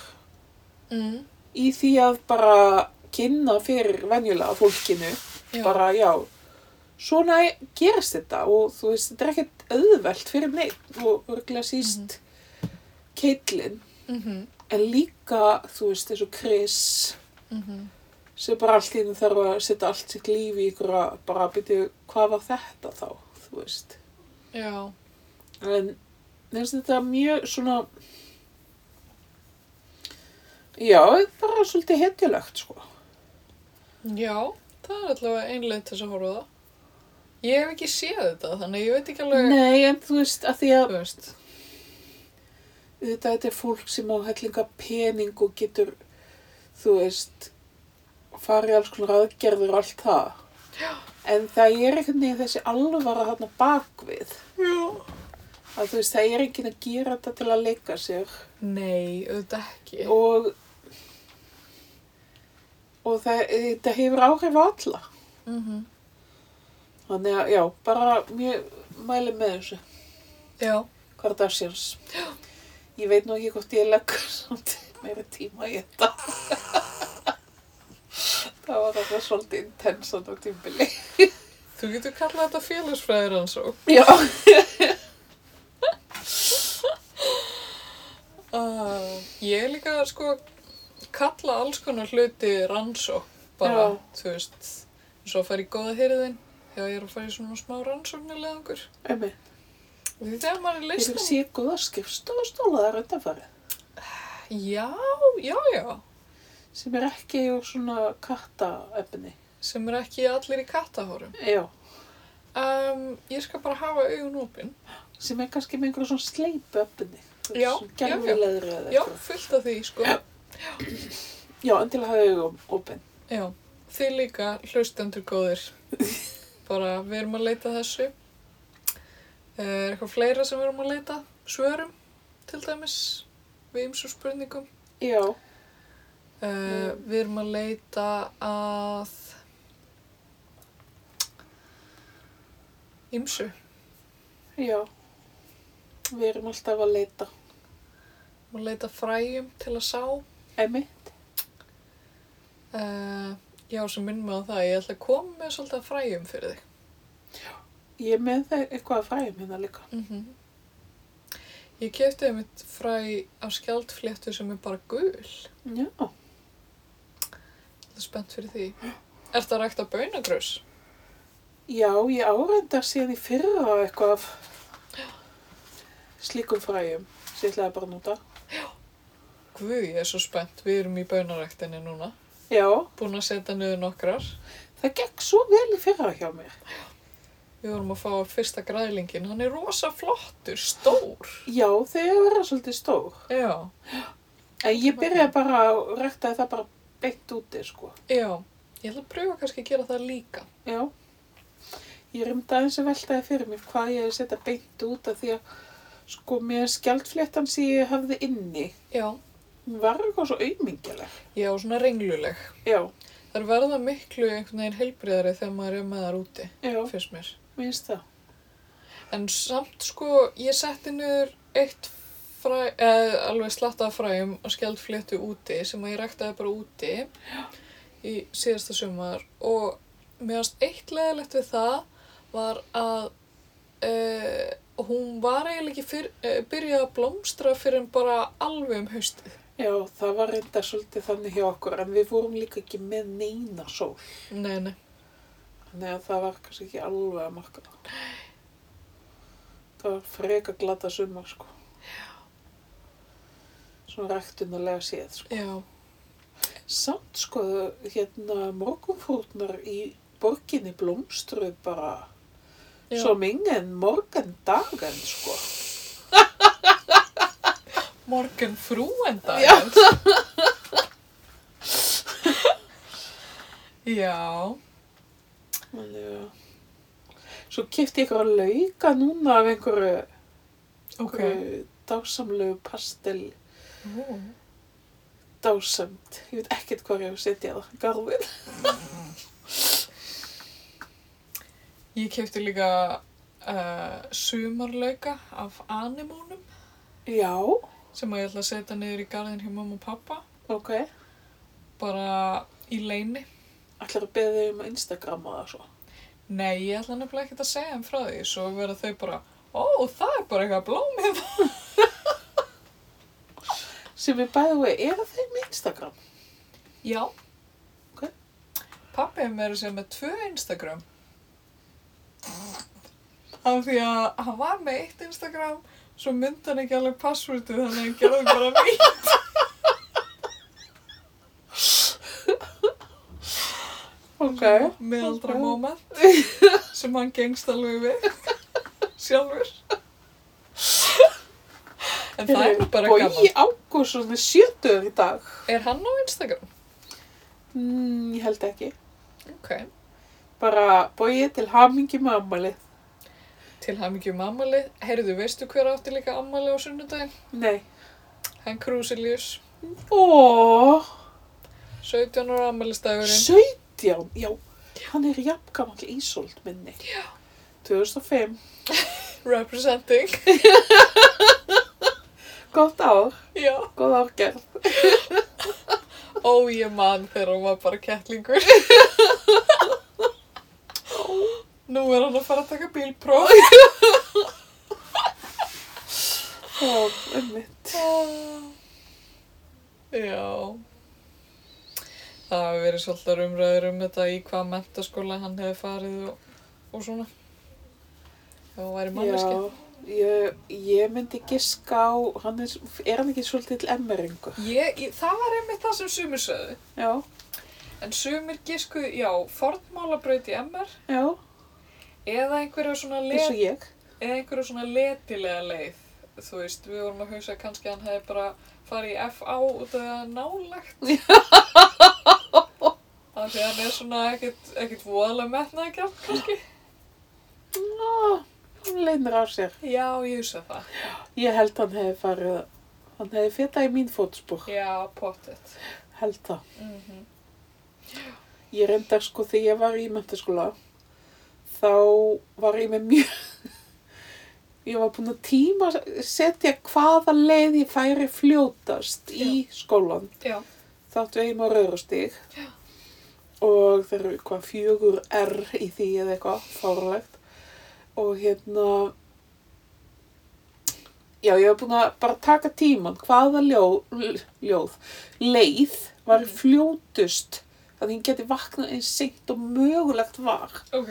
S2: Mm.
S1: í því að bara kynna fyrir venjulega fólkinu,
S2: Já.
S1: bara já, svona gerist þetta og þú veist, þetta er ekkert auðvelt fyrir neitt og örgulega síst mm keitlin,
S2: Mhm.
S1: en líka, þú veist, eins og Chris
S2: Mhm.
S1: sem bara allt í þínu þarf að setja allt sitt líf í ykkur að bara byrja hvað var þetta þá, þú veist.
S2: Já.
S1: En mér finnst þetta mjög svona, já, bara svolítið hetjulegt, sko.
S2: Já, það er allavega einlega til þess að horfa á það. Ég hef ekki séð þetta, þannig ég veit ekki alveg,
S1: Nei, en þú veist, að því að
S2: þú veist.
S1: þetta, þetta er fólk sem á hellinga pening og getur, þú veist, farið í alls konar aðgerður og allt það. En það er einhvern veginn þessi alvara þarna bakvið.
S2: Já.
S1: Að þú veist, það er enginn að gera þetta til að leika sér.
S2: Nei, auðvitað ekki.
S1: Og, og það, þetta hefur áhrif á alla.
S2: Mhm.
S1: Þannig að, já, bara mjög mæli með þessu.
S2: Já.
S1: Kardashians. Ég veit nú ekki hvort ég legg samt meira tíma í þetta. það var þetta svolítið intensan á tímbili.
S2: Þú getur kallað þetta félagsfræðir hans og.
S1: Já.
S2: Uh, ég er líka sko kalla alls konar hluti rannsók bara,
S1: Já.
S2: þú veist, eins og að fara í góða hyrðin þegar ég er að fara í svona smá rannsóknilega okkur.
S1: Emi,
S2: Því þegar maður
S1: hefur
S2: er listan...
S1: síkuð að skrifstofastóla þar undanfarið
S2: Já, já, já.
S1: sem er ekki úr svona kattaefni.
S2: Sem er ekki allir í kattahórum.
S1: Já,
S2: Um, ég skal bara hafa augun opinn.
S1: sem er kannski með einhverjum svona sleipu efni.
S2: Já, já, já.
S1: Gæmulegri eða
S2: Já,
S1: eitthvað.
S2: fullt af því, sko.
S1: Já. Já, endilega hafa augum opinn.
S2: Já. Þið líka hlustendur góðir. Bara, við erum að leita að þessu. Er eitthvað fleira sem við erum að leita? Svörum, til dæmis, við ymsu spurningum.
S1: Já,
S2: Uh,
S1: Mm.
S2: við erum að leita að ymsu.
S1: já. Við erum alltaf að leita.
S2: Við erum að leita að fræjum til að sá.
S1: Emi,
S2: Uh, já, sem minn mig á það, ég ætla að koma með svolítið að fræjum fyrir þig.
S1: Ég er með það eitthvað að fræðum hérna líka.
S2: -hmm. Ég kefti einmitt fræ af skjaldfléttu sem er bara gul.
S1: Já.
S2: Það er spennt fyrir því. Er það rægt að baunagrös?
S1: Já, ég áreindar síðan í fyrra eitthvað af slíkum fræðum sem ég ætlaði bara að nota.
S2: Guð, ég er svo spennt. Við erum í baunaræktinni núna.
S1: Já,
S2: Búin að setja niður nokkrar.
S1: það gekk svo vel í fyrra hjá mér.
S2: Við vorum að fá fyrsta græðlingin. Hann er rosa flottur, stór.
S1: Já, þau eru verið svolítið stór.
S2: Já,
S1: En ég byrjaði bara hérna. að rektaði það bara beitt úti, sko.
S2: já. Ég ætla að pröfa kannski að gera það líka.
S1: Já. Ég rymdi aðeins að veltaði fyrir mér hvað ég hefði setja beitt út af því að sko mér skjaldfléttan sem ég hafði inni.
S2: Já.
S1: Hún var eitthvað svo auðmingjaleg.
S2: Já, svona rengluleg.
S1: Já,
S2: Það er verða miklu einhvern veginn heilbriðari þegar maður er með þar úti,
S1: já,
S2: finnst mér.
S1: minnst það.
S2: En samt sko, ég setti niður eitt fræ, eða alveg slatta af fræjum og skjaldfléttu úti sem að ég ræktaði bara úti í síðasta sumar og mér varst eitt leðilegt við það var að e, hún var eiginlega ekki fyrr, e, byrjað að blómstra fyrir en bara alveg um haustið.
S1: Já, það var reynda svolítið þannig hjá okkur, en við vorum líka ekki með neina sól.
S2: Nei, nei.
S1: Þannig að það var kannski ekki alveg að marka það. Það var freka glata sumar, sko. Já. Svona ræktunulega séð, sko.
S2: Já,
S1: Samt, sko, hérna morgunfrútnar í borginni blómstruð bara
S2: já.
S1: svo mingen morgandagen, sko.
S2: morgun frúenda.
S1: Já.
S2: Já.
S1: Þannig að... Svo kipti ég ykkur að lauka núna af einhverju
S2: Ok.
S1: okay. dásamlegu pastel
S2: Ó.
S1: dásamt. Ég veit ekkert hvað ég hef setjað það. Garfið.
S2: Ég kefti líka uh, sumarlauka af animónum
S1: Já,
S2: sem að ég ætla að setja niður í garðin hjá mamma og pappa
S1: ok.
S2: bara í leini.
S1: Ætlar að beða þig um að Instagrama það svo.
S2: Nei, ég ætla nefnilega ekkert að segja þeim frá því svo verða þau bara, ó, það er bara eitthvað blómið.
S1: Sem við bæðu við, eru þeir með Instagram?
S2: Já.
S1: Ok.
S2: Pappi er meira að segja með tvö Instagram. Af því að hann var með eitt Instagram svo myndi hann ekki alveg passvöldið þannig að hann gerði bara nýtt.
S1: Ok.
S2: Meðaldra
S1: Ok.
S2: moment sem hann gengst alveg við sjálfur. En það er nú bara
S1: Bói
S2: gaman.
S1: Ágússon er sjötuður í dag.
S2: Er hann á Instagram?
S1: Mm, ég held ekki.
S2: Ok.
S1: Bara bóið til hamingi með ammalið.
S2: Til hamingi um ammalið. Heyrðu, veistu hver átti líka ammalið á sunnudaginn?
S1: Nei.
S2: Hann Krúsilius.
S1: Ó,
S2: 17 ára ammaliðstæðurinn.
S1: 17, já. Hann er jafngamall ísolt minni. Já. 2005,
S2: Representing.
S1: gott ár,
S2: Já.
S1: góð árgerð.
S2: Ó, ég man þegar hún var bara kettlingur. Nú er hann að fara að taka bílpróf.
S1: Ó, einmitt.
S2: Já. Það hafi verið svolítið umræður um þetta í hvað mentaskóla hann hefði farið og, og svona. Ef hann væri manneskið.
S1: Já, ég, ég myndi giska á, hann er, er hann ekki svolítið til emmeringu?
S2: Ég, ég, það var einmitt það sem sumir sögðu.
S1: Já,
S2: En sumir giskuðu, já, fornmálabraut í MR
S1: já,
S2: eða einhverja svona,
S1: eins og
S2: let,
S1: ég.
S2: eða einhverja svona letilega leið. Þú veist, við vorum að hugsa að kannski hann hefði bara farið í FA út af því að það er nálægt. Af því að hann er svona ekkert, ekkert voðalega metnaði gælt kannski.
S1: Ná, hann leynir á sér.
S2: Já, ég hugsa það.
S1: Ég held hann hefði farið, hann hefði fyrtað í mín fótspor,
S2: Já, pottet.
S1: held það.
S2: Mm
S1: Ég reyndar sko þegar ég var í mentaskóla þá var ég með mjög ég var búin að tíma setja hvaða leið ég færi fljótast í skólan
S2: Já.
S1: þáttu eigum á rauðrastíg og þeir eru hvað fjögur R í því eða eitthvað fárlegt og hérna já ég var búin að bara taka tíman hvaða ljóð, ljóð leið var
S2: Mhm.
S1: fljótust að hinn geti vaknað eins seint og mögulegt var
S2: Ok.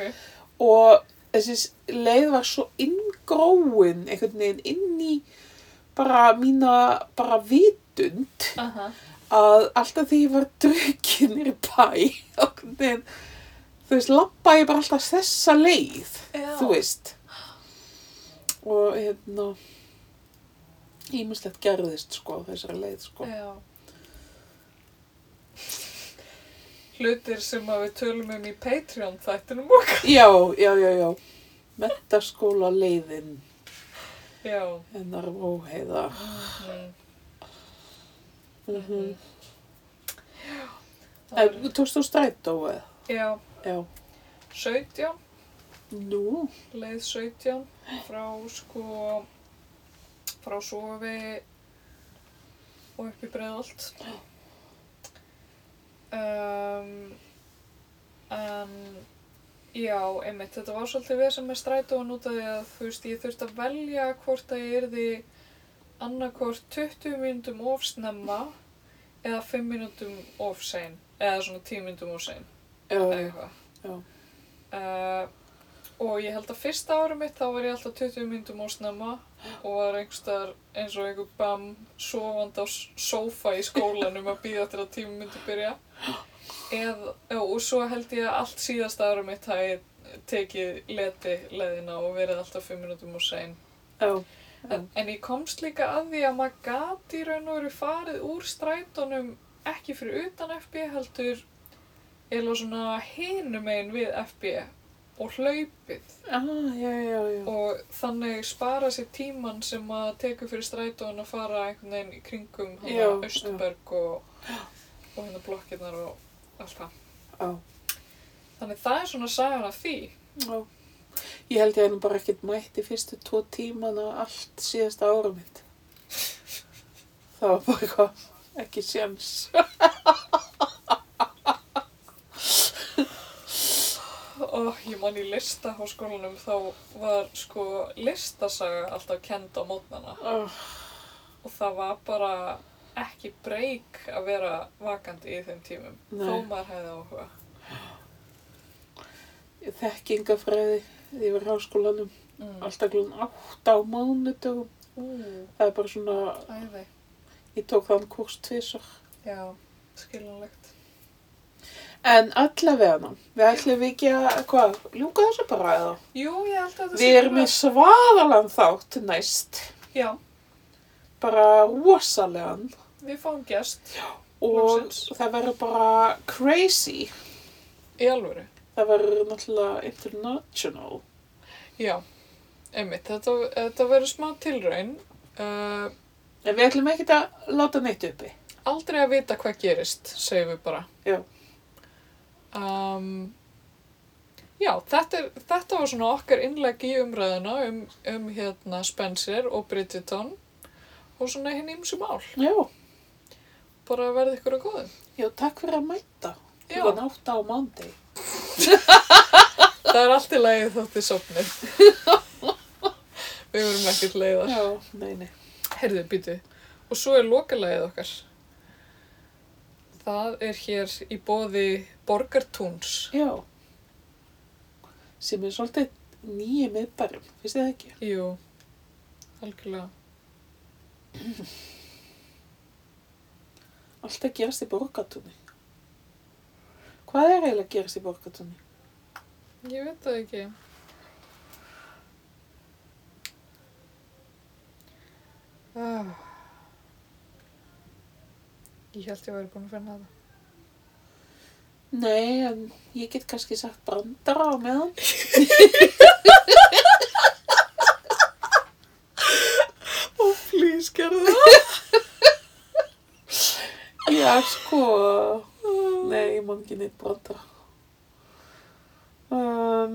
S1: og þessi s- leið var svo inngróin einhvern veginn inn í bara mína bara vitund
S2: Aha.
S1: að alltaf því ég var drukkin nýri bæ og neðin, þú veist, labba ég bara alltaf þessa leið,
S2: Já.
S1: þú veist og hérna ímislegt gerðist sko á þessari leið sko
S2: Já. Hlutir sem að við tölum um í Patreon þættinum okkar.
S1: já, já, já, já metaskóla leiðin
S2: Já.
S1: hennar óheiða
S2: Mm.
S1: mm -hmm.
S2: Það er-
S1: Eh, tókst þú strætó eða?
S2: Já,
S1: já,
S2: 17,
S1: nú
S2: leið 17 frá sko frá Sofi og upp í Breiðholt. Um, en já, einmitt, þetta var svolítið við sem er strætóan út af því að þú veist, ég þurfti að velja hvort að ég yrði annarkvort 20 mínútum of snemma eða 5 mínútum of sein eða svona 10 mínútum of sein
S1: já,
S2: eða
S1: já,
S2: eitthvað. Uh, og ég held að fyrsta árum mitt þá var ég alltaf 20 myndum og snemma og var einhverstaðar eins og einhver bam sofandi á s- sófa í skólanum að býða til að tíma myndi byrja Eð, já, og svo held ég að allt síðasta árum mitt hafi ég tekið leti leðina og verið alltaf 5 minútum og sein
S1: já,
S2: en, en ég komst líka að því að maður gati raun og veru farið úr strætónum ekki fyrir utan FB heldur eða svona hinum einn við FB og hlaupið
S1: Já, Ah, já, já, já.
S2: og þannig spara sér tíman sem að tekur fyrir strætóin að fara einhvern veginn í kringum
S1: Já,
S2: hana Östberg og, og hérna blokkirnar og allt það.
S1: Já,
S2: Þannig það er svona sagan af því.
S1: já. Ég held ég að hann bara ekkert mætti fyrstu tvo tímana allt síðasta ára mitt. Það var bara eitthvað, ekki séns.
S2: Oh, ég man í listaháskólanum þá var sko listasaga alltaf kend á mótnana
S1: Oh,
S2: og það var bara ekki breyk að vera vakandi í þeim tímum
S1: Nei.
S2: þó maður hefði áhuga.
S1: ég þekki yngar fræði því ég var í háskólanum.
S2: Mm.
S1: Alltaf glun átt á mánudögum.
S2: Ú,
S1: Það er bara svona,
S2: æði,
S1: ég tók þann kurs tvisar.
S2: já, skiljanlegt.
S1: En allavega, við ætlum við ekki að, hvað, ljúka þessu bara eða?
S2: Jú, ég held að það
S1: Við erum í
S2: bara-
S1: svaðalan þátt næst,
S2: Já,
S1: bara rosalegan
S2: við fáum gest
S1: og
S2: Loksins.
S1: það verður bara crazy.
S2: í alvöru.
S1: Það verður náttúrulega international.
S2: Já, einmitt, þetta, þetta verður smá tilraun. Uh,
S1: En við ætlum ekki að láta neitt uppi.
S2: aldrei að vita hvað gerist, segjum við bara.
S1: Já.
S2: Um, já, þetta, er, þetta var svona okkar innlegg í umræðuna um, um hérna Spencer og Bridgerton og svona hinn ymsu mál.
S1: Já,
S2: Bara að verða ykkur að góðum.
S1: já, takk fyrir að mæta.
S2: Já.
S1: Já. Þú var nátt á mándi.
S2: Það er allt í lagi þótt þið sopnið. við verum ekkert leiðar.
S1: Já, nei, nei.
S2: Herðu, býtu. Og svo er lokalagið okkar. Það er hér í bóði Borgartúns.
S1: Já. Sem er svolítið nýju miðbærum, finnst þið það ekki?
S2: Jú, algjörlega.
S1: Allt að gerast í borgatúni. Hvað er eiginlega að gerast í borgatúni?
S2: Ég veit það ekki. Ah. Ég held ég væri búin að finna það.
S1: Nei, en ég get kannski sagt brandara á meðan.
S2: Ó, Oh, please, gerðu það.
S1: Já, sko, nei, ég man ekki neitt brandara. Um,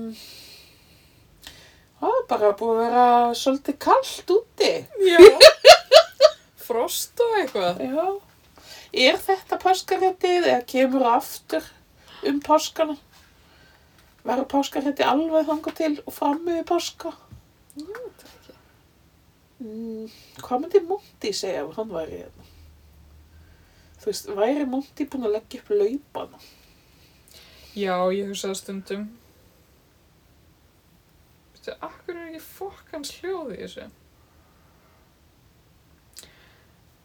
S1: það er bara búið að vera svolítið kallt úti.
S2: Já. Frost og eitthvað.
S1: Já, er þetta páskaréttið eða kemur það aftur um páskana? Verður páskarétti alveg þangað til og frammi í páska?
S2: Ég veit það ekki.
S1: Mm, hvað myndi Monty segja ef hann væri hérna? Þú veist, væri Monty búinn að leggja upp laupana?
S2: Já, ég hugsaði stundum. Þetta, akkur er ekki fokkans hljóð í þessu?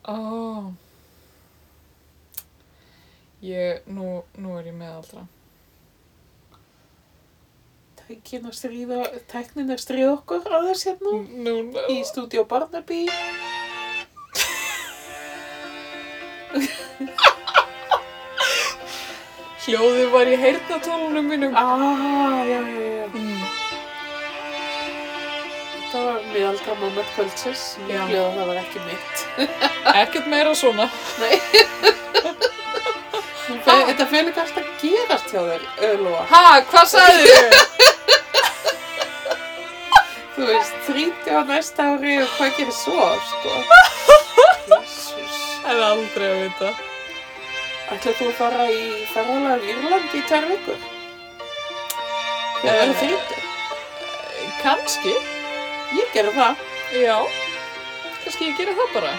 S2: Ó. Ég, nú, nú er ég meðaldra.
S1: Tækin að stríða, tæknin að stríða okkur aðeins hérna
S2: Nú, nú.
S1: í stúdíu Barnaby.
S2: Hljóðið var í heyrnatólunum mínum.
S1: Ah, já, já, já.
S2: Mm.
S1: Það var miðaldra moment kvöldsins.
S2: Já.
S1: Mjög glöða það var ekki mitt.
S2: Ekkert meira svona.
S1: Þe- Þetta fyrir ekki alltaf að gerast hjá þér, Ölva.
S2: Ha, hvað sagði þið?
S1: Þú veist, 30 á næsta ári og hvað gerir svo, sko? Jésús.
S2: Það er aldrei að vita.
S1: Ætlaðu þú að fara í ferðalag í Írlandi í tvær vikur? Já, það er
S2: Eh.
S1: þrítið.
S2: Kanski.
S1: Ég gerði það.
S2: Já. Kanski ég gera það bara.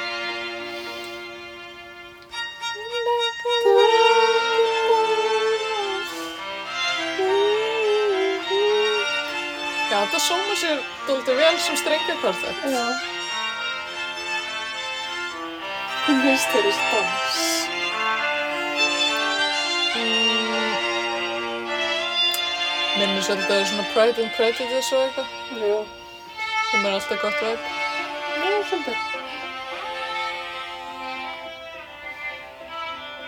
S2: Já, þetta sóma sér doldið vel sem strengja hvort
S1: Já. Hún veist þeirri stans.
S2: Minnir svolítið að það er svona Pride and Prejudice og eitthvað
S1: Já.
S2: sem er alltaf gott veg.
S1: Já, svolítið.